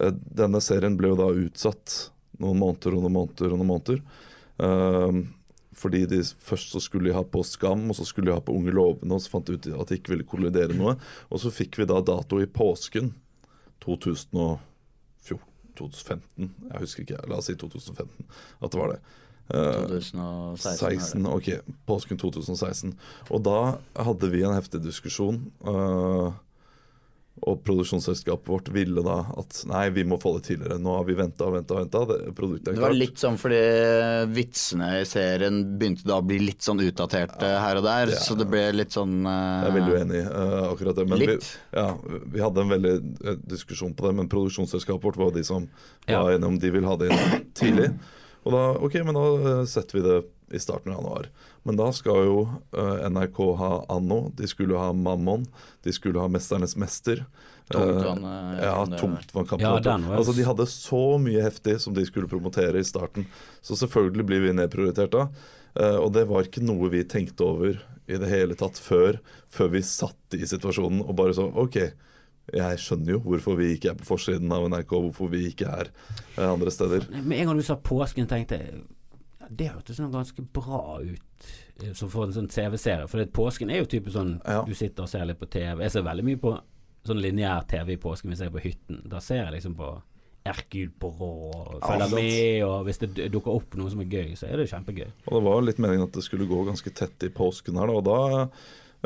Speaker 2: eh, denne serien ble jo da utsatt noen måneder og noen måneder og noen måneder. Eh, Fordi de, Først så skulle de ha på Skam, og så skulle de ha på Unge lovende, og så fant de ut at de ikke ville kollidere noe. Og så fikk vi da dato i påsken 2014 2015, jeg husker ikke, la oss si 2015, at det var det. Eh,
Speaker 3: 2016. er det.
Speaker 2: 16, ok, påsken 2016. Og da hadde vi en heftig diskusjon. øh, og produksjonsselskapet vårt ville da at nei, vi må få det tidligere. Nå har vi venta og venta og venta. Det, produktet er
Speaker 3: Det var
Speaker 2: klart.
Speaker 3: litt sånn fordi vitsene i serien begynte da å bli litt sånn utdaterte her og der,
Speaker 2: det er-
Speaker 3: så det ble litt sånn eh,
Speaker 2: Jeg er veldig uenig i eh, akkurat det. Men vi,
Speaker 3: Litt.
Speaker 2: ja, vi hadde en veldig eh, diskusjon på det, men produksjonsselskapet vårt var de som
Speaker 1: Ja.
Speaker 2: var enige om de vil ha det inn tidlig. Og da, ok, men da eh, setter vi det i starten av januar. Men da skal jo eh, NRK ha Anno, de skulle ha Mammon, de skulle ha Mesternes mester. Eh,
Speaker 3: Tungtvann, eh,
Speaker 2: ja,
Speaker 3: som det-
Speaker 2: tungtvannkamp.
Speaker 1: Ja, den var-
Speaker 2: altså, de hadde så mye heftig som de skulle promotere i starten. Så selvfølgelig blir vi nedprioritert da. Eh, og det var ikke noe vi tenkte over i det hele tatt før, før vi satt i situasjonen og bare så OK, jeg skjønner jo hvorfor vi ikke er på forsiden av NRK, hvorfor vi ikke er eh, andre steder.
Speaker 1: Med en gang du sa påsken, tenkte jeg ja, det hørtes sånn ganske bra ut eh, som for en sånn TV-serie. For det- påsken er jo typisk sånn
Speaker 2: Ja.
Speaker 1: du sitter og ser litt på TV. Jeg ser veldig mye på sånn lineær TV i påsken hvis jeg er på hytten. Da ser jeg liksom på Hercule Poirot og følger
Speaker 2: sant.
Speaker 1: med, og hvis det du- dukker opp noe som er gøy, så er det jo kjempegøy.
Speaker 2: Og det var jo litt meningen at det skulle gå ganske tett i påsken her, da. Og da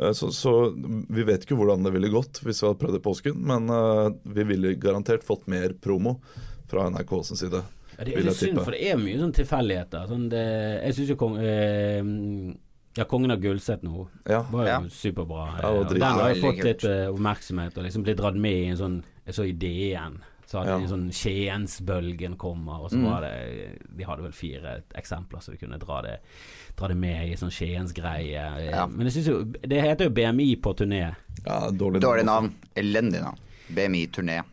Speaker 2: eh, så, så vi vet ikke hvordan det ville gått hvis vi hadde prøvd i påsken, men eh, vi ville garantert fått mer promo fra NRK sin side.
Speaker 1: Ja, det er
Speaker 2: vil
Speaker 1: litt
Speaker 2: jeg
Speaker 1: synd,
Speaker 2: tippe.
Speaker 1: for det er mye sånn tilfeldigheter. Sånn det, jeg syns jo kong, eh, ja, Kongen av Gullset nå
Speaker 2: Ja.
Speaker 1: var jo
Speaker 3: Ja.
Speaker 1: superbra. eh,
Speaker 2: Ja, det var
Speaker 1: og den
Speaker 2: dritbra.
Speaker 1: har jo
Speaker 3: Veldig
Speaker 1: fått
Speaker 3: kult.
Speaker 1: litt eh, oppmerksomhet, og liksom blitt dratt med i en sånn Jeg så i DN, så hadde
Speaker 2: Ja. Mm.
Speaker 1: de sånn Skiensbølgen kommer, og så var det De hadde vel fire eksempler, så de kunne dra det, dra det med i sånn Skiens-greie. eh,
Speaker 3: Ja.
Speaker 1: Men jeg syns jo Det heter jo BMI på turné.
Speaker 2: ja dårlig,
Speaker 3: Dårlig navn. Elendig navn. BMI-turné.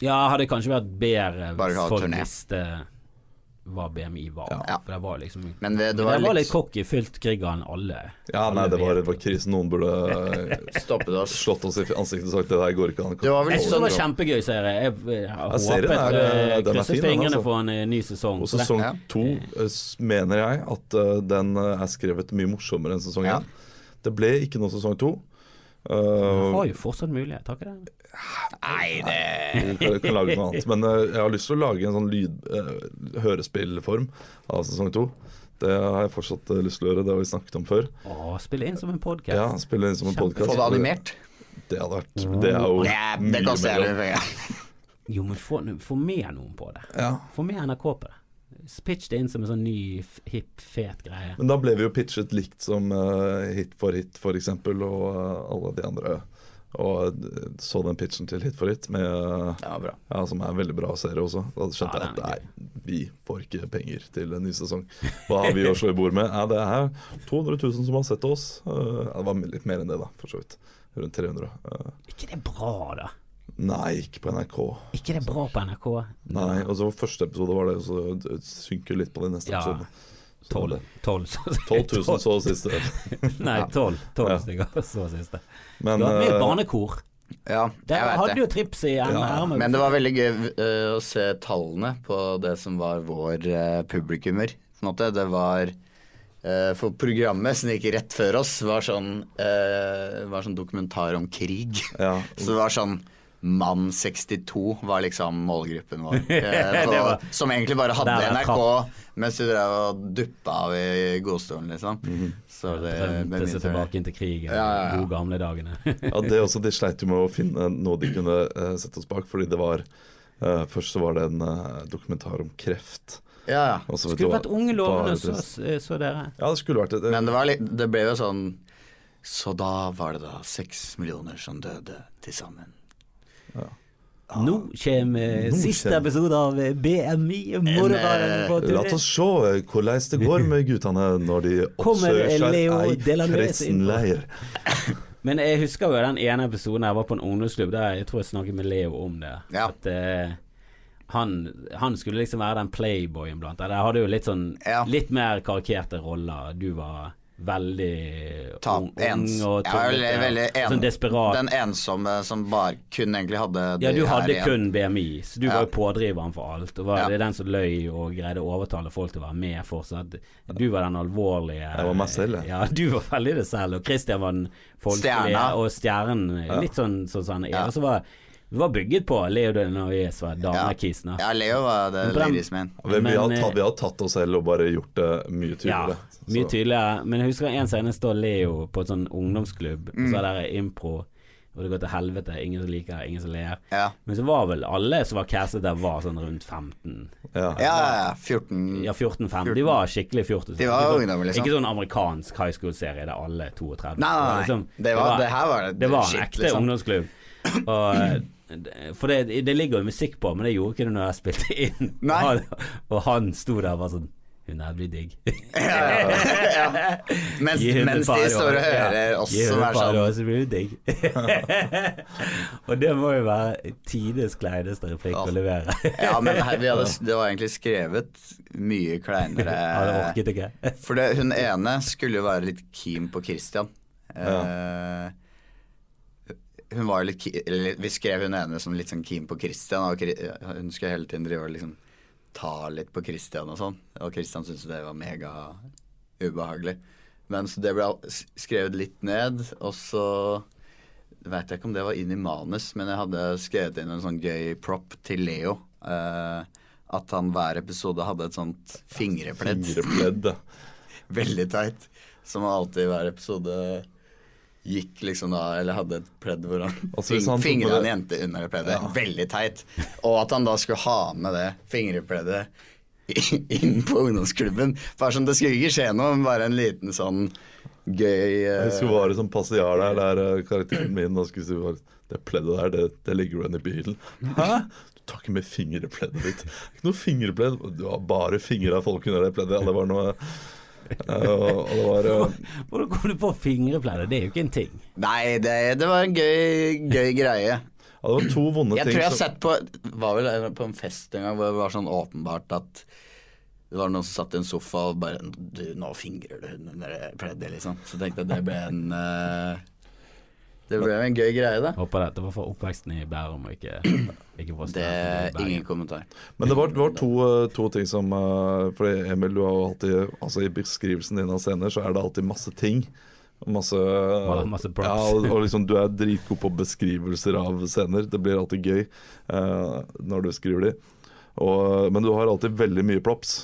Speaker 1: Ja, hadde kanskje vært bedre
Speaker 3: Bare
Speaker 1: hvis
Speaker 3: ha
Speaker 1: folk
Speaker 3: turné.
Speaker 1: visste hva BMI var.
Speaker 3: Ja.
Speaker 1: For det var liksom
Speaker 3: Men det, det
Speaker 1: Men
Speaker 3: var,
Speaker 1: den var litt
Speaker 3: litt
Speaker 1: cocky, fylt krigger enn alle.
Speaker 2: Ja, nei,
Speaker 1: alle
Speaker 2: det var,
Speaker 1: vet.
Speaker 2: det var krisen. Noen burde
Speaker 3: *laughs*
Speaker 2: eh,
Speaker 3: Stoppet oss.
Speaker 2: slått oss i ansiktet og sagt det der går ikke an.
Speaker 3: Det var vel
Speaker 1: Jeg
Speaker 3: litt
Speaker 1: syns det
Speaker 3: sånn
Speaker 1: var kjempegøy serie. Jeg, jeg,
Speaker 2: serien
Speaker 1: håpet
Speaker 2: er,
Speaker 1: eh,
Speaker 2: den er
Speaker 1: krysset
Speaker 2: fin, den,
Speaker 1: fingrene
Speaker 2: altså.
Speaker 1: for en eh, ny sesong.
Speaker 2: Og
Speaker 1: for det-
Speaker 2: sesong
Speaker 3: Ja.
Speaker 2: to eh, s- mener jeg at eh, den eh, er skrevet mye morsommere enn sesong
Speaker 3: Ja.
Speaker 2: én. Det ble ikke noe sesong to. Eh,
Speaker 1: Jeg har jo fortsatt mulighet, har ikke det?
Speaker 3: Nei, det
Speaker 2: vi kan, kan lage noe annet. Men eh, jeg har lyst til å lage en sånn lyd, eh, hørespillform av sesong to. Det har jeg fortsatt eh, lyst til å gjøre, det har vi snakket om før.
Speaker 1: Å, spille inn som en podkast.
Speaker 2: Ja, Spille inn som en
Speaker 1: Kjempe-
Speaker 2: podkast.
Speaker 3: Få det animert.
Speaker 2: Det hadde vært Det er jo
Speaker 3: Det, er- det
Speaker 2: mye
Speaker 3: koster
Speaker 2: mellom.
Speaker 3: jævlig penger.
Speaker 1: Jo, men få, få med noen på det.
Speaker 2: Ja.
Speaker 1: Få med NRK på det. Pitch det inn som en sånn ny, f- hipp, fet greie.
Speaker 2: Men da ble vi jo pitchet likt som eh, Hit for hit, for eksempel, og eh, alle de andre. Og eh, så den pitchen til Hit for hit, med, eh,
Speaker 3: Det var bra.
Speaker 2: ja, som er en veldig bra serie også. Da skjønte
Speaker 1: Ja,
Speaker 2: jeg at
Speaker 1: den er
Speaker 2: nei, vi får ikke penger til en ny sesong. Hva har vi å slå i bord med? Ja, det er 200 000 som har sett oss. Eh, ja, det var litt mer enn det, da, for så vidt. Rundt 300. Eh,
Speaker 1: Ikke det bra, da?
Speaker 2: nei, ikke på NRK.
Speaker 1: Ikke det bra på NRK?
Speaker 2: Nei, og så Første episode var det, og så synker litt på de neste
Speaker 1: Ja.
Speaker 2: episodene. Så
Speaker 1: Tolv.
Speaker 2: det-
Speaker 1: Tolv, så
Speaker 2: 12
Speaker 1: *laughs*
Speaker 2: 000 så siste.
Speaker 1: Nei, tolv. Tolv
Speaker 2: Ja.
Speaker 1: stykker, så siste.
Speaker 2: Men
Speaker 1: Du har med
Speaker 2: eh,
Speaker 1: barnekor.
Speaker 3: *laughs* Ja,
Speaker 1: Der
Speaker 3: jeg
Speaker 1: hadde
Speaker 3: vet det.
Speaker 1: jo trips i ermet.
Speaker 3: Men det var veldig gøy eh, å se tallene på det som var vår eh, publikummer. På en måte. Det var eh, For programmet som gikk rett før oss, var sånn, eh, var sånn dokumentar om krig.
Speaker 2: Ja.
Speaker 3: Så det var sånn Mann 62 var liksom målgruppen
Speaker 1: *laughs*
Speaker 3: vår. Eh,
Speaker 1: Det
Speaker 3: Så,
Speaker 1: var-
Speaker 3: som egentlig bare hadde
Speaker 1: Der er
Speaker 3: NRK mens du drev og duppa av i godstolen, liksom.
Speaker 1: Mhm.
Speaker 3: Så det
Speaker 1: Drømte seg tilbake inn til krigen,
Speaker 3: Ja, ja, ja.
Speaker 1: de gode gamle
Speaker 3: *laughs*
Speaker 1: dagene.
Speaker 2: Ja, det også, De sleit jo med å finne noe de kunne eh, sette oss bak. Fordi det var eh, Først så var det en eh, dokumentar om kreft.
Speaker 3: Ja, ja.
Speaker 2: og så vet du
Speaker 1: Skulle
Speaker 2: hva-
Speaker 1: vært unge
Speaker 2: bare
Speaker 1: lovende, så,
Speaker 2: trist.
Speaker 1: så dere.
Speaker 2: Ja, det skulle vært eh, det.
Speaker 3: Men det, var litt, det ble jo sånn Så da var det da seks millioner som døde til sammen. Ah.
Speaker 1: Nå kommer eh,
Speaker 2: Nå
Speaker 1: siste
Speaker 2: kommer-
Speaker 1: episode av eh, BMI
Speaker 3: eh,
Speaker 1: Morderen på
Speaker 2: La
Speaker 1: turné.
Speaker 2: oss se hvordan det går med guttene når de
Speaker 1: *laughs* Kommer
Speaker 2: oppsøker
Speaker 1: Leo
Speaker 2: ei
Speaker 1: Delanues inn
Speaker 2: kristen
Speaker 1: på-
Speaker 2: leir.
Speaker 1: Men jeg husker jo den ene episoden jeg var på en ungdomsklubb, der jeg tror jeg snakket med Leo om det.
Speaker 3: Ja.
Speaker 1: At eh, han, han skulle liksom være den playboyen blant. Eller jeg hadde jo litt sånn
Speaker 3: Ja.
Speaker 1: litt mer karikerte roller. Du var veldig
Speaker 3: tap, ens,
Speaker 1: ung og
Speaker 3: ja,
Speaker 1: tøff.
Speaker 3: jeg er veldig en,
Speaker 1: sånn desperat.
Speaker 3: Den ensomme som bare kun egentlig hadde det
Speaker 1: ja, du
Speaker 3: her
Speaker 1: hadde
Speaker 3: igjen.
Speaker 1: kun BMI, så du
Speaker 3: Ja.
Speaker 1: var jo pådriveren for alt. Og var
Speaker 3: Ja.
Speaker 1: det den som løy og greide å overtale folk til å være med fortsatt. Du var den alvorlige
Speaker 2: Jeg var meg selv, jeg.
Speaker 1: ja. Du var veldig det selv, og Christian var den folkelige,
Speaker 3: Stjerna.
Speaker 1: og stjernen. Litt sånn sånn som han er. Og så var, var bygget på Leodin og Yes var damekisene.
Speaker 3: Ja, Leo var det
Speaker 1: på den-
Speaker 3: lyrismen.
Speaker 2: Vi, vi, har
Speaker 1: Men, eh,
Speaker 2: tatt, vi har tatt oss selv og bare gjort det mye tydeligere.
Speaker 1: Ja, mye
Speaker 2: Så-
Speaker 1: tydeligere. Men jeg husker en scene står Leo på en sånn ungdomsklubb, og
Speaker 3: Mm.
Speaker 1: så er det impro, og det går til helvete. Ingen som liker det, ingen som ler.
Speaker 3: Ja.
Speaker 1: Men så var vel alle som var castet der, var sånn rundt 15.
Speaker 2: ja.
Speaker 3: Ja, ja, ja, 14
Speaker 1: Ja, 14-15. De var skikkelig 14.
Speaker 3: Mm. De var
Speaker 1: Ikke sånn-
Speaker 3: ungdommer, liksom.
Speaker 1: Ikke sånn amerikansk high school-serie der alle er 32.
Speaker 3: Nei, nei, nei.
Speaker 1: liksom-
Speaker 3: Det var- det her var det
Speaker 1: det var en
Speaker 3: shit,
Speaker 1: ekte
Speaker 3: liksom.
Speaker 1: ungdomsklubb.
Speaker 3: *clears throat*
Speaker 1: Og, eh, for det, det ligger jo musikk på, men det gjorde ikke det når jeg spilte inn.
Speaker 3: Nei.
Speaker 1: Og han- *laughs* og han sto der og var sånn Hun her blir digg.
Speaker 3: Mens,
Speaker 1: Gi henne
Speaker 3: mens
Speaker 1: et par
Speaker 3: de står
Speaker 1: år.
Speaker 3: og hører
Speaker 1: Ja.
Speaker 3: oss
Speaker 1: Gi henne
Speaker 3: som
Speaker 1: et
Speaker 3: er
Speaker 1: par
Speaker 3: sånn
Speaker 1: år, så blir det digg.
Speaker 3: *laughs*
Speaker 1: *laughs* og det må jo være tidenes kleineste replikk å levere.
Speaker 3: Ja, men her, vi hadde, det var egentlig skrevet mye kleinere
Speaker 1: Han orket ikke.
Speaker 3: For det, hun ene skulle jo være litt keen på Christian. Eh, hun var jo litt ki- eller, Vi skrev hun ene som litt sånn keen på Christian, og Kri- hun skulle hele tiden drive og liksom ta litt på Christian og sånn. Og Christian syntes jo det var mega ubehagelig. Men så det ble al- s- skrevet litt ned, og så veit jeg ikke om det var inn i manus, men jeg hadde skrevet inn en sånn gøy prop til Leo. eh, at han hver episode hadde et sånt fingerpledd.
Speaker 2: Fingerpledd. ja.
Speaker 3: *laughs* Veldig teit. Som alltid i hver episode gikk liksom da, eller hadde et pledd hvor han
Speaker 2: Altså, hvis
Speaker 3: fing-
Speaker 2: han tok på
Speaker 3: fingra
Speaker 2: det-
Speaker 3: en jente under det pleddet. Veldig teit. Og at han da skulle ha med det fingerpleddet i- inn på ungdomsklubben. Bare sånn, Det skulle ikke skje noe, men bare en liten sånn
Speaker 2: Jeg
Speaker 3: gøy eh,
Speaker 2: husker var det som passiar der, der eh, karakteren min og skulle si bare, Det pleddet der, det, det legger du igjen i bilen. Hæ? Du tar ikke med fingerpleddet ditt. Ikke noe fingerpledd. Du har bare fingra folk under det pleddet. Ja, det var noe eh, og, og det var eh,
Speaker 1: Hvordan kom du på fingrepleier? Det er jo ikke en ting.
Speaker 3: Nei, det, det var en gøy, gøy greie.
Speaker 2: ja, det var to vonde
Speaker 3: Jeg
Speaker 2: ting.
Speaker 3: tror jeg har
Speaker 2: som-
Speaker 3: sett på Var vel på en fest en gang hvor det var sånn åpenbart at det var noen som satt i en sofa og bare Du, nå fingrer du hun under det pleddet, liksom. Så tenkte jeg det ble en eh, Det ble en gøy greie, da.
Speaker 1: Håper dette var for oppveksten i Bærum og ikke, ikke for
Speaker 3: Det
Speaker 1: studenten i
Speaker 3: er
Speaker 1: Bergen.
Speaker 3: ingen kommentar.
Speaker 2: Men det var, det var to, eh, to ting som eh, Fordi Emil, du har jo alltid Altså i beskrivelsen din av scener så er det alltid masse ting. Og Masse,
Speaker 1: masse props.
Speaker 2: Ja, og, og liksom du er dritgod på beskrivelser av scener. Det blir alltid gøy eh, når du skriver de. Og, men du har alltid veldig mye props.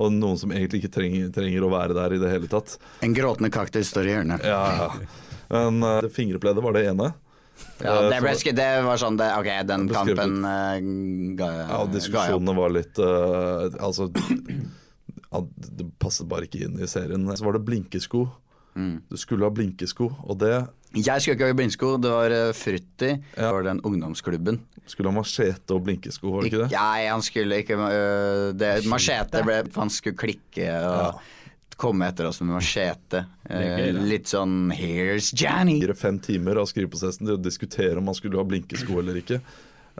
Speaker 2: Og noen som egentlig ikke trenger, trenger å være der i det hele tatt.
Speaker 3: En gråtende kaktus står i hjørnet.
Speaker 2: Ja, ja. Men eh, det fingerpleddet var det ene.
Speaker 3: Ja, det, ble, sk- det var sånn det, Ok, den
Speaker 2: Beskrevet.
Speaker 3: kampen eh, ga
Speaker 2: Ja,
Speaker 3: jeg ga jeg opp.
Speaker 2: diskusjonene var litt eh, Altså ja, Det passet bare ikke inn i serien. Så var det blinkesko.
Speaker 3: Mm.
Speaker 2: Du skulle ha blinkesko, og det
Speaker 3: Jeg skulle ikke ha blindsko, det var eh, Frutti.
Speaker 2: Ja.
Speaker 3: Det var den ungdomsklubben.
Speaker 2: skulle ha machete og blinkesko, var det ikke det?
Speaker 3: Nei, han skulle ikke øh, det, Machete ble Han skulle klikke og komme etter oss med machete.
Speaker 1: er gøy,
Speaker 3: Eh,
Speaker 1: da.
Speaker 3: litt sånn 'Here's Johnny'.
Speaker 2: Fire-fem timer av skriveprosessen til å diskutere om man skulle ha blinkesko eller ikke.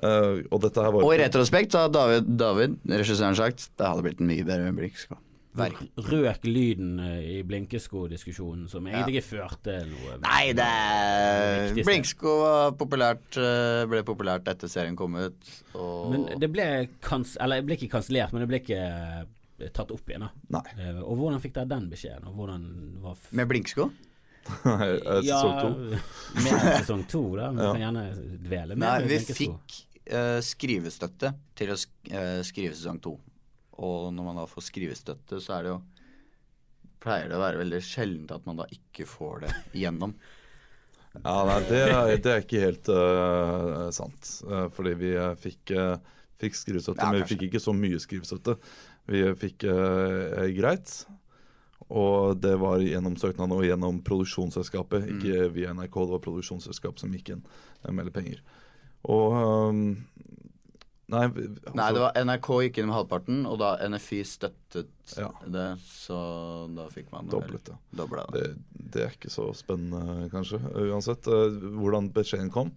Speaker 2: Eh, og dette her var
Speaker 3: Og i retrospekt så har David, David regissøren, sagt det hadde blitt en mye bedre øyeblikkssko.
Speaker 1: Røk lyden eh, i blinkesko-diskusjonen som egentlig ikke førte noe
Speaker 3: Nei, det er
Speaker 1: Viktigste.
Speaker 3: Blinksko var populært, øh, ble populært etter serien kom ut. Og
Speaker 1: Men det ble kans... Eller det ble ikke kansellert, men det ble ikke eh, tatt opp igjen, da.
Speaker 2: Nei. *laughs*
Speaker 1: Eh, Og hvordan fikk dere den beskjeden? Og hvordan var f-
Speaker 3: Med blinksko?
Speaker 2: eh, sesong
Speaker 1: *laughs*
Speaker 2: to.
Speaker 1: Mer enn sesong to, da. Vi kan gjerne dvele mer.
Speaker 3: Nei,
Speaker 1: ved
Speaker 3: vi
Speaker 1: blinkesko.
Speaker 3: fikk eh, skrivestøtte til å sk eh, skrive sesong to. Og når man da får skrivestøtte, så er det jo Pleier det å være veldig sjeldent at man da ikke får det igjennom.
Speaker 2: Ja, nei, det, er- det er ikke helt øh, sant. Eh, fordi vi eh, fikk, eh, fikk skrivestøtte,
Speaker 3: Ja,
Speaker 2: men vi
Speaker 3: kanskje.
Speaker 2: fikk ikke så mye skrivestøtte. Vi fikk eh, greit, og det var gjennom søknaden og gjennom produksjonsselskapet.
Speaker 3: Mm.
Speaker 2: Ikke via NRK, det var produksjonsselskapet som gikk inn eh, med litt penger. Og øhm, Nei, vi- altså,
Speaker 3: Nei, det var NRK gikk inn med halvparten, og da NFI støttet
Speaker 2: Ja.
Speaker 3: det, så da fikk man
Speaker 2: Doblet det.
Speaker 3: Dobla det.
Speaker 2: det, det er ikke så spennende, kanskje. Uansett eh, hvordan beskjeden kom.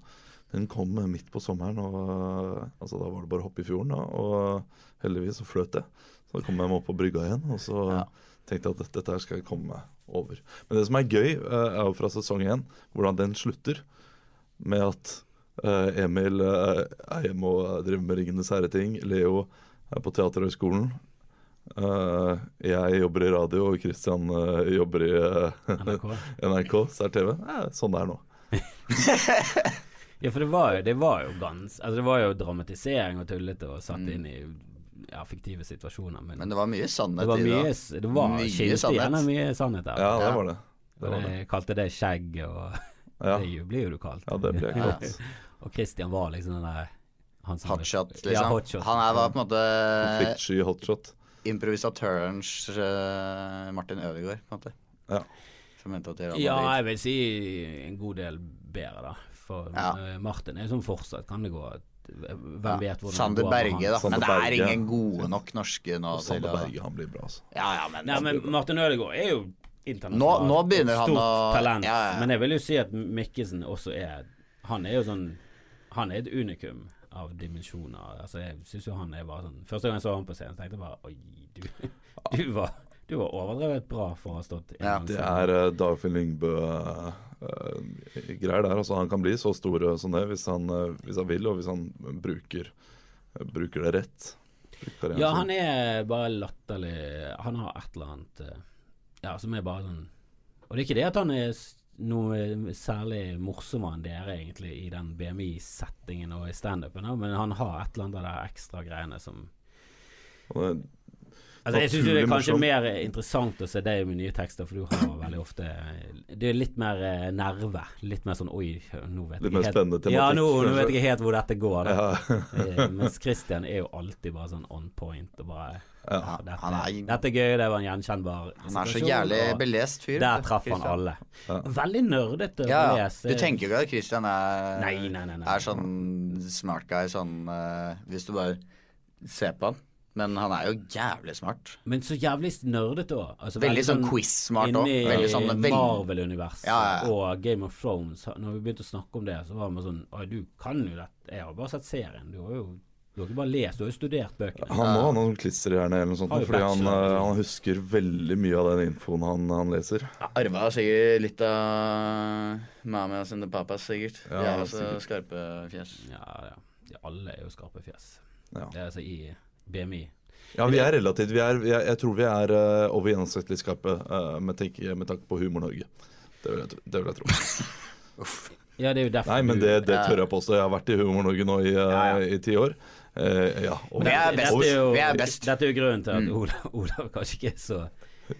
Speaker 2: Den kom eh, midt på sommeren, og eh, altså, da var det bare å hoppe i fjorden. Da, og eh, heldigvis så fløt det. Så da kom jeg meg opp på brygga igjen, og så
Speaker 3: Ja.
Speaker 2: tenkte jeg at dette her skal jeg komme meg over. Men det som er gøy, eh, er jo fra sesong én hvordan den slutter. Med at eh, Emil eh, er hjemme og driver med Ringenes herre-ting. Leo er på Teaterhøgskolen. Eh, jeg jobber i radio, og Christian eh, jobber i eh,
Speaker 1: NRK.
Speaker 2: *laughs* NRK, sær-TV. Eh, sånn det er nå.
Speaker 1: Ja, for det var jo, det var jo gans... Altså, det var jo dramatisering og tullete og satt inn i ja, fiktive situasjoner, men,
Speaker 3: Mm. Men det var mye
Speaker 1: det
Speaker 3: sannhet
Speaker 1: var
Speaker 3: i
Speaker 1: mye
Speaker 3: det.
Speaker 1: s- Det var
Speaker 3: Mye
Speaker 1: skilte
Speaker 3: sannhet.
Speaker 1: gjerne mye sannhet der.
Speaker 2: Ja, det
Speaker 3: Ja.
Speaker 2: var det. det,
Speaker 1: og
Speaker 2: var det.
Speaker 1: de kalte det skjegg, og *laughs*
Speaker 2: Ja.
Speaker 1: det blir jo du kalt.
Speaker 2: ja, det ble
Speaker 3: Ja.
Speaker 2: godt.
Speaker 1: og Christian var liksom den der han som-
Speaker 3: Hotshot,
Speaker 1: Ja,
Speaker 3: liksom.
Speaker 1: hotshot.
Speaker 3: Han er var på en måte
Speaker 2: Konfliktsky hotshot.
Speaker 3: improvisatørens eh, Martin Ødegaard, på en måte.
Speaker 2: Ja.
Speaker 3: Som mente at Iran var
Speaker 1: Ja,
Speaker 3: dritt.
Speaker 1: jeg vil si en god del bedre, da. For
Speaker 3: Ja.
Speaker 1: eh, Martin er sånn fortsatt, kan det gå at- Hvem
Speaker 3: Ja.
Speaker 1: vet hvordan
Speaker 3: Sander
Speaker 1: det går med
Speaker 3: Berge,
Speaker 1: han?
Speaker 3: da. Men
Speaker 2: Sander
Speaker 3: det er
Speaker 2: Berge.
Speaker 3: ingen gode nok norske nå
Speaker 2: Og
Speaker 3: til
Speaker 2: Sander
Speaker 3: å
Speaker 2: Berge, han blir bra, altså.
Speaker 3: Ja, ja, men,
Speaker 1: Nei, men Martin Ødegaard er jo internasjonal.
Speaker 3: Nå- nå begynner
Speaker 1: et
Speaker 3: han
Speaker 1: stort
Speaker 3: å-
Speaker 1: talent.
Speaker 3: ja, ja.
Speaker 1: Men jeg vil jo si at Mikkelsen også er Han er jo sånn Han er et unikum av dimensjoner. Altså, jeg syns jo han er bare sånn Første gang jeg så han på scenen, tenkte jeg bare Oi, du, *laughs* du var du var overdrevet bra for å ha stått
Speaker 3: Ja,
Speaker 1: en
Speaker 2: Det
Speaker 1: gang.
Speaker 2: er eh, Dagfinn Lyngbø-greier der. Altså, han kan bli så stor eh, som det hvis han, eh, hvis han vil, og hvis han bruker, eh, bruker det rett. Bruker
Speaker 1: Ja, altså. han er bare latterlig Han har et eller annet eh, Ja, som er bare sånn Og det er ikke det at han er s- noe særlig morsommere enn dere, egentlig, i den BMI-settingen og i standupen, da, men han har et eller annet av de ekstra greiene som
Speaker 2: Han er-
Speaker 1: Altså, jeg syns det er
Speaker 2: Naturlig
Speaker 1: kanskje
Speaker 2: morsom.
Speaker 1: mer eh, interessant å se deg med nye tekster, for du har veldig ofte Det er litt mer eh, nerve. Litt mer sånn oi, nå vet
Speaker 2: Litt
Speaker 1: jeg
Speaker 2: mer spennende tematikk,
Speaker 1: Ja, nå, nå
Speaker 2: kanskje.
Speaker 1: *laughs* vet jeg helt hvor dette går. Da.
Speaker 2: ja,
Speaker 1: Eh, Mens Christian er jo alltid bare sånn on point og bare
Speaker 2: ja.
Speaker 1: dette,
Speaker 3: han er-
Speaker 1: dette er gøy, det var en gjenkjennbar
Speaker 3: han er så
Speaker 1: situasjon,
Speaker 3: jævlig
Speaker 1: og
Speaker 3: belest fyr.
Speaker 1: Der traff han
Speaker 3: Christian.
Speaker 1: alle.
Speaker 2: Ja.
Speaker 1: Veldig nerdete
Speaker 3: Ja,
Speaker 1: å
Speaker 3: ja.
Speaker 1: lese.
Speaker 3: Du tenker jo ikke at Christian er,
Speaker 1: Nei, nei, nei, nei.
Speaker 3: er sånn smart guy, sånn eh, Hvis du bare ser på han. Men han er jo jævlig smart.
Speaker 1: Men så jævlig nerdete òg. Altså,
Speaker 3: Veldig sånn quiz-smart også. Veldig sånn-
Speaker 1: Inni
Speaker 3: veldig-
Speaker 1: Marvel-universet
Speaker 3: Ja, ja, ja.
Speaker 1: og Game of Thrones. Når vi begynte å snakke om det, så var vi sånn Oi, du kan jo dette. Jeg har bare sett serien. Du har jo du har ikke bare lest, du har jo studert bøkene.
Speaker 2: Han må ha noen klisterhjerne eller noe sånt,
Speaker 1: Har jo
Speaker 2: fordi han,
Speaker 1: bachelor.
Speaker 2: eh, han husker veldig mye av den infoen han, han leser.
Speaker 3: Arva sikkert litt av mamma sine papas, sikkert.
Speaker 2: Ja, De er jo så sikkert.
Speaker 3: skarpe fjes.
Speaker 1: Ja, ja. De alle er jo skarpe fjes.
Speaker 2: Ja.
Speaker 1: Det er altså i BMI.
Speaker 2: Ja, vi er relativt. Vi er, vi er, jeg tror vi er eh, over gjennomsnittlig skarpe eh, med, tenk- med tanke på Humor-Norge. Det vil jeg, tro- det vil jeg tro.
Speaker 1: Ja, det er jo derfor
Speaker 2: Nei, men
Speaker 1: du-
Speaker 2: det, det tør jeg påstå. Jeg har vært i Humor-Norge nå i, eh, i ti år. Eh, ja, og
Speaker 3: Men det er best.
Speaker 1: Dette er jo,
Speaker 3: Vi er best. Mm.
Speaker 1: Dette er jo grunnen til at Olav, Olav kanskje ikke er så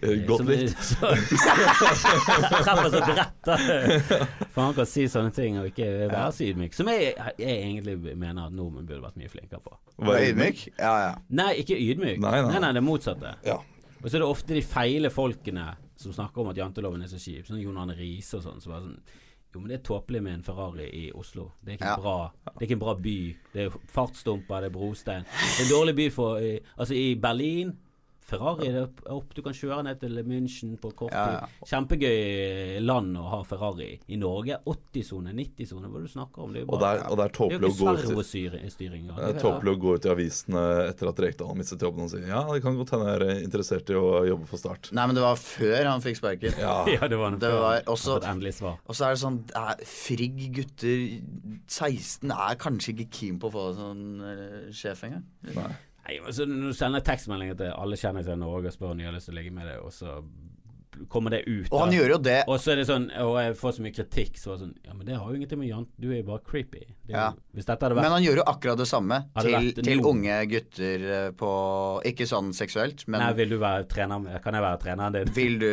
Speaker 2: Eh, Godt
Speaker 1: som-
Speaker 2: likt.
Speaker 1: Så, *laughs* treffer så bredt, da. For han kan si sånne ting og ikke være så ydmyk. Som jeg, jeg egentlig mener at nordmenn burde vært mye flinkere på.
Speaker 2: Vær ydmyk.
Speaker 3: Ja, ja.
Speaker 1: Nei, ikke ydmyk.
Speaker 2: Nei, nei.
Speaker 1: det er motsatte.
Speaker 2: Ja.
Speaker 1: Og så er det ofte de feile folkene som snakker om at janteloven er så kjip. Sånn Jon Arne Riise og sånn. Så bare sånn Jo, men det er tåpelig med en Ferrari i Oslo. Det er ikke,
Speaker 3: Ja.
Speaker 1: en, bra, det er ikke en bra by. Det er fartsdumper, det er brostein. Det er en dårlig by for eh, Altså, i Berlin Ferrari det er opp- opp. Du kan kjøre ned til München på kort tid.
Speaker 3: Ja, ja.
Speaker 1: Kjempegøy land å ha Ferrari i. I Norge 80-sone, 90-sone, hva er det du snakker om? Det er jo
Speaker 2: Og det
Speaker 1: bare
Speaker 2: er, og det
Speaker 1: det
Speaker 2: er
Speaker 1: er
Speaker 2: tåpelig
Speaker 1: jo
Speaker 2: å gå
Speaker 1: ikke
Speaker 2: ut i-
Speaker 1: servostyring.
Speaker 2: det er tåpelig å gå ut i avisene etter at Rekdal har mistet jobben og si ja, det kan godt hende jeg er interessert i å jobbe for Start.
Speaker 3: Nei, men det var før han fikk sparken.
Speaker 1: *laughs* Ja, det var en
Speaker 3: Det
Speaker 1: før-
Speaker 3: var
Speaker 1: jeg har
Speaker 3: også-
Speaker 1: fått endelig svar.
Speaker 3: Og så er det sånn det er Frigg gutter 16 er kanskje ikke keen på å få sånn eh, sjef engang.
Speaker 1: Nei, men så Når du sender tekstmeldinger til alle kjendiser i Norge og spør om de har lyst til å ligge med deg, og så kommer det ut.
Speaker 3: Og han
Speaker 1: da.
Speaker 3: gjorde jo det.
Speaker 1: og så er det sånn, og jeg får så mye kritikk, så er det sånn Ja, men det har jo ingenting med Jan Du er jo bare creepy. Det er,
Speaker 3: Ja.
Speaker 1: jo- Hvis dette hadde vært
Speaker 3: Men han gjorde jo akkurat det samme
Speaker 1: Har det
Speaker 3: til,
Speaker 1: vært
Speaker 3: til
Speaker 1: noen-
Speaker 3: unge gutter eh, på Ikke sånn seksuelt, men
Speaker 1: Nei, vil du være trener med Kan jeg være treneren din?
Speaker 3: vil du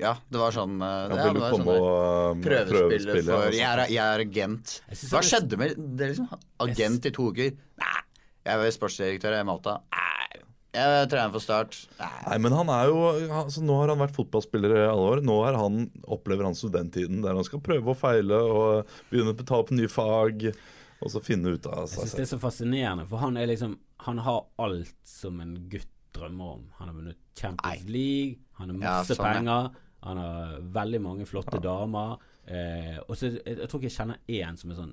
Speaker 3: Ja, det var sånn eh,
Speaker 2: Ja,
Speaker 3: ja,
Speaker 2: vil
Speaker 3: det
Speaker 2: du
Speaker 3: var sånn
Speaker 2: komme
Speaker 3: der.
Speaker 2: og um,
Speaker 3: Prøvespille for
Speaker 2: og
Speaker 3: jeg
Speaker 2: sånt?
Speaker 3: er, jeg er agent.
Speaker 1: Jeg synes
Speaker 3: Hva
Speaker 1: det er-
Speaker 3: skjedde med det? er Liksom, agent i to uker? Nei. Jeg er sportsdirektør i Malta. Nei. Jeg er trener for Start. Nei.
Speaker 2: Nei, men han er jo altså, Nå har han vært fotballspiller i alle år. Nå er han, opplever han studenttiden der han skal prøve og feile og begynne å ta opp nye fag. Og så finne ut
Speaker 3: altså,
Speaker 2: av
Speaker 1: Jeg
Speaker 2: seg
Speaker 1: synes det
Speaker 2: selv.
Speaker 1: er så fascinerende, for han er liksom Han har alt som en gutt drømmer om. Han har vunnet Champions League, han har
Speaker 3: Ja,
Speaker 1: masse
Speaker 3: sånn, ja.
Speaker 1: penger, han har veldig mange flotte damer. Eh, og så jeg, jeg tror ikke jeg kjenner én som er sånn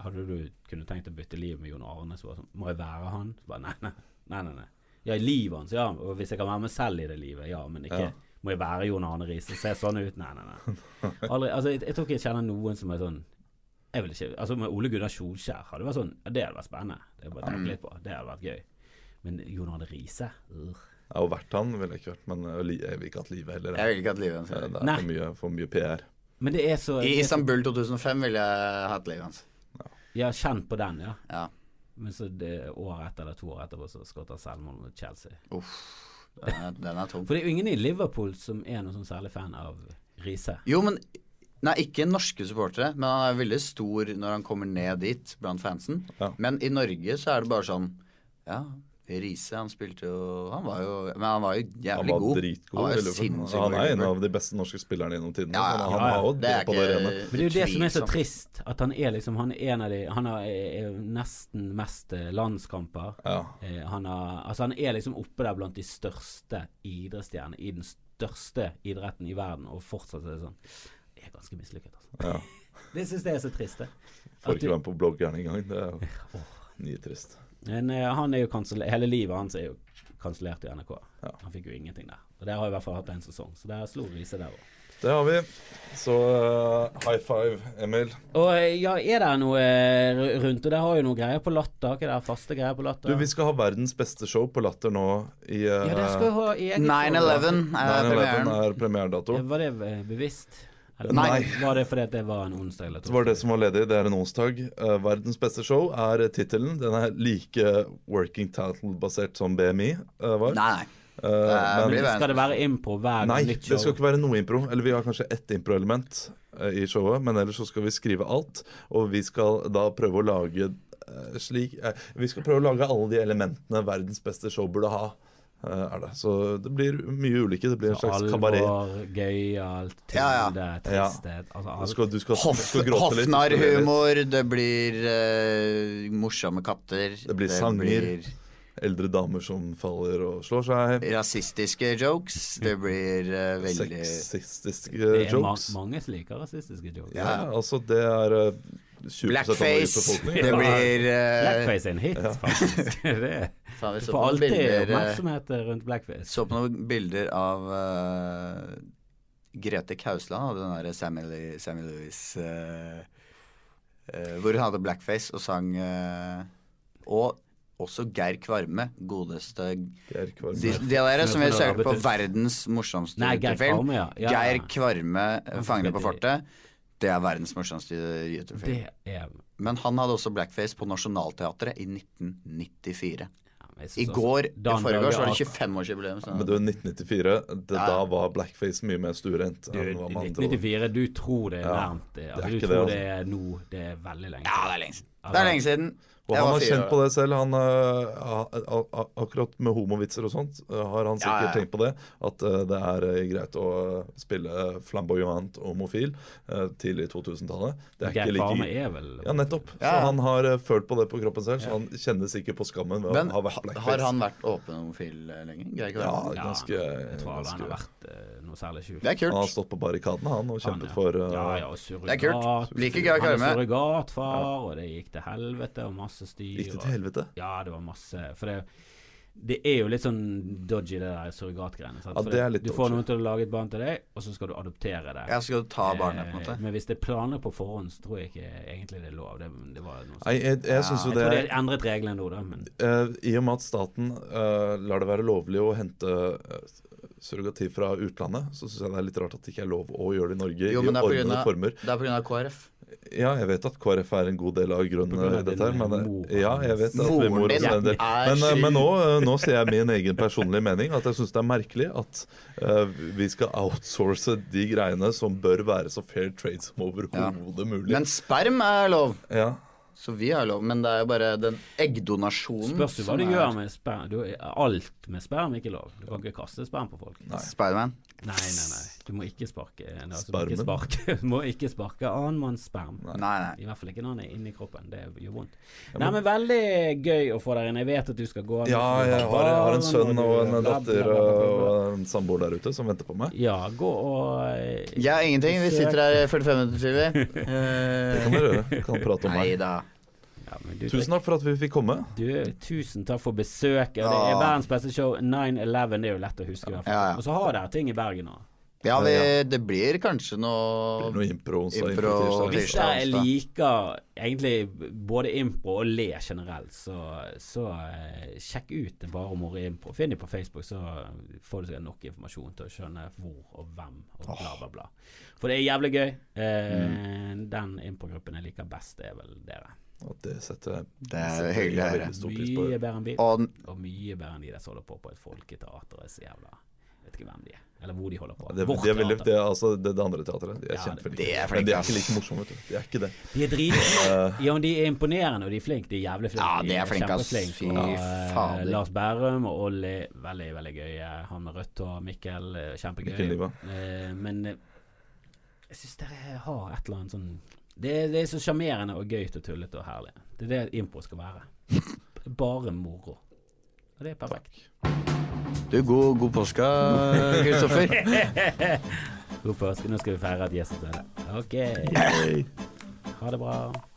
Speaker 1: Hadde du kunne tenkt å bytte liv med Jon Arne, så var det sånn Må jeg være han? Så bare, nei, nei, nei, nei, nei. Ja, i livet hans, ja. Og hvis jeg kan være meg selv i det livet, ja. Men ikke
Speaker 2: Ja.
Speaker 1: Må jeg være Jon Arne Riise? Se sånn ut? Nei, nei, nei. Aldri, altså, jeg, jeg tror ikke jeg kjenner noen som er sånn jeg vil ikke, altså Med Ole Gunnar Solskjær hadde det vært sånn ja, Det hadde vært spennende. Det hadde jeg
Speaker 3: Mm.
Speaker 1: bare tenkt litt på. Det hadde vært gøy. Men Jon Arne Riise Ugh.
Speaker 2: Jeg har jo vært han, ville jeg ikke vært, men jeg li- jeg vil ikke hatt livet heller.
Speaker 3: Jeg
Speaker 2: Jeg.
Speaker 3: ville ikke hatt livet hans.
Speaker 2: Det er
Speaker 1: Nei.
Speaker 2: for mye, for mye PR.
Speaker 1: Men det er så
Speaker 3: I Istanbul 2005 ville jeg hatt livet hans.
Speaker 1: Ja, kjent på den, ja.
Speaker 3: Ja.
Speaker 1: Men så det året etter eller to år etterpå så skåret han selvmord mot Chelsea.
Speaker 3: Uff. Den er, den er tung.
Speaker 1: For det er jo ingen i Liverpool som er noen sånn særlig fan av Riise.
Speaker 3: Jo, men Nei, ikke norske supportere, men han er veldig stor når han kommer ned dit blant fansen.
Speaker 2: Ja.
Speaker 3: Men i Norge så er det bare sånn Ja, Riise, han spilte jo Han var jo Men han var jo
Speaker 2: Han
Speaker 3: jævlig
Speaker 2: var
Speaker 3: god.
Speaker 2: dritgod.
Speaker 3: Han var jo
Speaker 2: veldig fort.
Speaker 3: sinnssykt
Speaker 2: han er en
Speaker 3: god.
Speaker 2: av de beste norske spillerne gjennom tidene.
Speaker 3: Ja,
Speaker 2: så
Speaker 3: ja,
Speaker 2: han
Speaker 1: ja, ja.
Speaker 2: er jo
Speaker 3: Det er
Speaker 2: på det rene.
Speaker 3: ikke
Speaker 1: Men det er jo det som er så
Speaker 3: utvilsomt.
Speaker 1: trist, at han er liksom Han er en av de Han har eh, eh, nesten mest eh, landskamper.
Speaker 2: Ja.
Speaker 1: Eh, han, har, altså han er liksom oppe der blant de største idrettsstjernene i den største idretten i verden, og fortsatt er det sånn. Det er ganske mislykket, altså.
Speaker 2: Ja.
Speaker 1: Det syns jeg er så trist, det.
Speaker 2: Får
Speaker 1: At du-
Speaker 2: ikke være med på bloggeren engang. Det er jo nitrist.
Speaker 1: Men eh, han er jo kansel- hele livet hans er jo kansellert i NRK.
Speaker 2: Ja.
Speaker 1: Han fikk jo ingenting der. Og der har jeg i hvert fall hatt en sesong, så der slo Riise der òg.
Speaker 2: Det har vi. Så eh, high five, Emil.
Speaker 1: Og eh, ja, er det noe eh, ru- rundt Og det har jo noe greier på Latter, ikke det? Faste greier på Latter?
Speaker 2: Du, vi skal ha verdens beste show på Latter nå i eh,
Speaker 1: Ja, det skal jo ha i eget
Speaker 3: 9-11 er
Speaker 2: 9/11
Speaker 3: premieren.
Speaker 2: er premieredato.
Speaker 1: Var det eh, bevisst? Eller
Speaker 2: Nei.
Speaker 1: var det fordi at det var en onsdag eller
Speaker 2: Det
Speaker 1: to?
Speaker 2: var det som var ledig. Det er en onsdag. Eh, verdens beste show er tittelen. Den er like working title-basert som BMI eh, var.
Speaker 3: Nei, nei.
Speaker 2: Eh,
Speaker 3: det
Speaker 2: men-
Speaker 3: blir
Speaker 1: Skal det være improv hver gang
Speaker 2: Nei,
Speaker 1: nytt
Speaker 2: det
Speaker 1: show?
Speaker 2: skal ikke være noe impro. Eller vi har kanskje ett improelement eh, i showet, men ellers så skal vi skrive alt. Og vi skal da prøve å lage eh, slik eh, Vi skal prøve å lage alle de elementene verdens beste show burde ha. eh, er det. Så det blir mye ulike. Det blir en slags kabaret.
Speaker 1: Alvor, gøyalt,
Speaker 3: Ja, ja.
Speaker 1: tyngde, tristhet altså,
Speaker 2: Du
Speaker 1: alt.
Speaker 2: skal, du skal, du
Speaker 3: Hoff,
Speaker 2: skal gråte litt. du skal le litt.
Speaker 3: Hoffnarrhumor, det blir eh, morsomme katter.
Speaker 2: Det blir sanger. Eldre damer som faller og slår seg.
Speaker 3: blir rasistiske jokes. Det blir eh,
Speaker 2: *laughs*
Speaker 3: veldig
Speaker 2: Sexistiske
Speaker 1: Det er ma
Speaker 2: jokes.
Speaker 1: mange som liker rasistiske jokes.
Speaker 2: Ja, altså det er eh, 20 av Norges
Speaker 3: Blackface.
Speaker 2: befolkning.
Speaker 3: Det
Speaker 1: Ja.
Speaker 3: blir eh,
Speaker 1: Blackface er en hit, faktisk. *laughs* det er.
Speaker 3: faen, vi
Speaker 1: Du
Speaker 3: *laughs* så
Speaker 1: får
Speaker 3: på noen
Speaker 1: alltid
Speaker 3: bilder eh,
Speaker 1: oppmerksomhet rundt blackface.
Speaker 3: Så på noen bilder av eh, Grete Kausland og den derre Sammy, Lee- Sammy Lewis eh, eh, Hvor hun hadde blackface og sang eh, Og også Geir Kvarme, godeste
Speaker 2: Geir Kvarme.
Speaker 3: de, de av dere som vil søke på
Speaker 1: Arbeidet.
Speaker 3: verdens morsomste
Speaker 1: Nei, Geir
Speaker 3: YouTube-film,
Speaker 1: Kvarme, ja. Ja, ja.
Speaker 3: Geir Kvarme, eh, 'Fangene på
Speaker 1: veldig-
Speaker 3: fortet', det er verdens morsomste YouTube-film.
Speaker 1: Det er
Speaker 3: Men han hadde også blackface på Nationaltheatret i 1994.
Speaker 1: ja, men jeg synes
Speaker 3: I
Speaker 1: også-
Speaker 3: går, i
Speaker 1: Dan
Speaker 3: forgårs, var det
Speaker 1: Børge
Speaker 3: 25-årsjubileum. så-
Speaker 2: Men du, 1994, det,
Speaker 3: Ja.
Speaker 2: da var blackface mye mer stuerent enn hva man
Speaker 1: Du,
Speaker 2: trodde.
Speaker 1: 1994, du tror det er nærmt. det. Altså,
Speaker 2: er
Speaker 1: du
Speaker 2: ikke
Speaker 1: tror
Speaker 2: det,
Speaker 1: det er nå. Det er veldig lenge.
Speaker 3: Ja,
Speaker 1: siden. Altså,
Speaker 3: det er lenge siden. Det er lenge siden.
Speaker 2: Og
Speaker 3: Jeg
Speaker 2: han
Speaker 3: var
Speaker 2: har
Speaker 3: fire
Speaker 2: kjent
Speaker 3: år.
Speaker 2: på det selv. Han, øh, a- a- a- akkurat med homovitser og sånt øh, har han sikkert
Speaker 3: Ja, ja, ja.
Speaker 2: tenkt på det. At øh, det er øh, greit å øh, spille flamboyant homofil øh, tidlig i 2000-tallet. Det er
Speaker 1: Geir
Speaker 2: ikke
Speaker 1: Kvarme
Speaker 2: like
Speaker 1: er vel
Speaker 2: ja, nettopp. Så
Speaker 3: Ja.
Speaker 2: han har øh, følt på det på kroppen selv, så han kjenner sikkert på skammen ved
Speaker 3: Men
Speaker 2: å ha vært
Speaker 3: ha-
Speaker 2: blackface.
Speaker 3: har han vært åpen homofil eh, lenge? Greier ikke å
Speaker 2: Ja,
Speaker 3: være det.
Speaker 1: Ja,
Speaker 2: ganske,
Speaker 1: Jeg tror aldri han har
Speaker 2: ganske
Speaker 1: vært eh, noe særlig skjult.
Speaker 3: Det er
Speaker 2: Han har
Speaker 3: kult.
Speaker 2: stått på barrikadene, han,
Speaker 1: Han,
Speaker 2: og kjempet
Speaker 1: ja.
Speaker 2: for øh,
Speaker 1: Ja, ja, og surrogat.
Speaker 3: Det er kult. Liker Geir
Speaker 1: Han
Speaker 3: Kvarme.
Speaker 1: er surrogatfar, og det gikk til helvete, og masse styr.
Speaker 2: Gikk det
Speaker 1: og-
Speaker 2: til helvete?
Speaker 1: Ja, det var masse For det, det er jo litt sånn dodgy, det der surrogatgreiene. sant?
Speaker 2: Ja,
Speaker 1: For
Speaker 2: det er litt
Speaker 1: du får
Speaker 2: dodgy.
Speaker 1: noen til å lage et barn til deg, og så skal du adoptere det.
Speaker 3: Ja, så skal du ta barnet, på en måte.
Speaker 1: Eh, Men hvis det er planer på forhånd, så tror jeg ikke egentlig det er lov. Det, det var noe
Speaker 2: Nei,
Speaker 1: sånt.
Speaker 2: jeg, jeg synes jo
Speaker 1: Jeg
Speaker 2: det
Speaker 1: tror de har endret reglene nå, da. Men
Speaker 2: Eh, I og med at staten eh, lar det være lovlig å hente eh, surrogati fra utlandet, så syns jeg det er litt rart at det ikke er lov å gjøre det i Norge
Speaker 3: Jo,
Speaker 2: i
Speaker 3: men det er på grunn
Speaker 2: ordnede
Speaker 3: av-
Speaker 2: former.
Speaker 3: det er på grunn av KrF.
Speaker 2: Ja, jeg vet at KrF er en god del av grunnen
Speaker 1: På grunn
Speaker 2: i
Speaker 1: av
Speaker 2: dette her,
Speaker 1: din
Speaker 2: men eh,
Speaker 1: mor.
Speaker 2: ja, jeg vet at min
Speaker 3: Moren
Speaker 2: mor
Speaker 3: din
Speaker 2: også er en del.
Speaker 3: er
Speaker 2: Men, eh, men
Speaker 3: sjuk.
Speaker 2: nå, eh, nå ser jeg min egen personlige mening, at jeg syns det er merkelig at eh, vi skal outsource de greiene som bør være så fair trade som overhodet mulig.
Speaker 3: Men sperm er lov,
Speaker 2: ja.
Speaker 3: så vi har lov. Men det er jo bare den
Speaker 2: Mm,
Speaker 1: spørs
Speaker 3: eggdonasjonen
Speaker 1: jo hva
Speaker 3: som
Speaker 2: sånn
Speaker 1: du
Speaker 3: er-
Speaker 1: gjør med sperm. Du, alt med sperm er ikke lov. Du kan ikke kaste sperm på folk. Nei,
Speaker 3: Spiderman.
Speaker 1: nei, nei. Du må ikke sparke nei, altså, du må ikke
Speaker 2: Spermen.
Speaker 1: sparke, *laughs* du må ikke sparke annenmanns sperm.
Speaker 3: Nei, nei.
Speaker 1: I hvert fall ikke når han er inni kroppen. Det gjør vondt. Nei, men veldig gøy å få deg inn. Jeg vet at du skal gå.
Speaker 2: ja, jeg har, jeg har en sønn og en datter og en samboer der ute som venter på meg.
Speaker 1: Ja, gå og
Speaker 3: Jeg har
Speaker 1: *laughs*
Speaker 3: ingenting. Vi sitter her i 45 minutter tidlig.
Speaker 2: Det kan dere gjøre. Kan prate om
Speaker 3: Nei
Speaker 2: meg.
Speaker 3: da.
Speaker 1: Ja, men du,
Speaker 2: Tusen takk for at vi fikk komme.
Speaker 1: Du, tusen takk for besøket. Det er
Speaker 3: Ja.
Speaker 1: verdens beste show. 9-11, det er jo lett å huske. i hvert fall.
Speaker 3: Ja, ja.
Speaker 1: Og så har dere ting i Bergen nå.
Speaker 3: Ja, vi, det blir kanskje noe
Speaker 2: Noe impro onsdag,
Speaker 3: Impro-
Speaker 2: impro tirsdag.
Speaker 1: Hvis
Speaker 3: Tirsdag,
Speaker 1: dere
Speaker 3: onsdag.
Speaker 1: liker egentlig både impro og le generelt, så, så eh, sjekk ut det bare om ordet impro. Finn det på Facebook, så får du sikkert nok informasjon til å skjønne hvor og hvem og bla, bla, bla. For det er jævlig gøy. Eh,
Speaker 2: Mm.
Speaker 1: Den improgruppen jeg liker best, er vel dere.
Speaker 2: Og det setter jeg
Speaker 3: Det er
Speaker 2: setter jeg
Speaker 3: hyggelig å høre.
Speaker 2: veldig stor pris på.
Speaker 1: Mye bedre enn vi.
Speaker 3: Og
Speaker 1: Og mye bedre enn de der som holder på på et folketeater. er Så jævla Vet ikke hvem de er, eller hvor de holder på.
Speaker 2: Det,
Speaker 1: Vårt
Speaker 2: de er veldig,
Speaker 1: teater.
Speaker 2: det, er altså, det, det andre teatret. De er
Speaker 1: Ja,
Speaker 2: kjempeflinke.
Speaker 3: det er flinke,
Speaker 2: Men de er
Speaker 3: ass.
Speaker 2: ikke like morsomme, vet du. De er ikke det.
Speaker 1: De er dritflinke. Ja, men de er imponerende, og de er flinke. De er jævlig flinke.
Speaker 3: Eh. Ja, de er flinke, ass.
Speaker 1: kjempeflinke.
Speaker 3: Fy
Speaker 1: Og, eh,
Speaker 3: fader.
Speaker 1: Lars Bærum og Olli, veldig, veldig gøy. Eh, Han med rødt hår, Mikkel, eh, kjempegøy.
Speaker 2: Mikkel Liva.
Speaker 1: Eh, men eh, jeg syns dere har et eller annet sånn Det, er- det er så sjarmerende og gøy og tullete og herlig. Det er det impro skal
Speaker 3: *laughs*
Speaker 1: være. Bare moro. Og det er perfekt.
Speaker 3: du, god, god påske, Kristoffer.
Speaker 1: God påske. Nå skal vi feire at Jesus døde. OK. Ha det bra.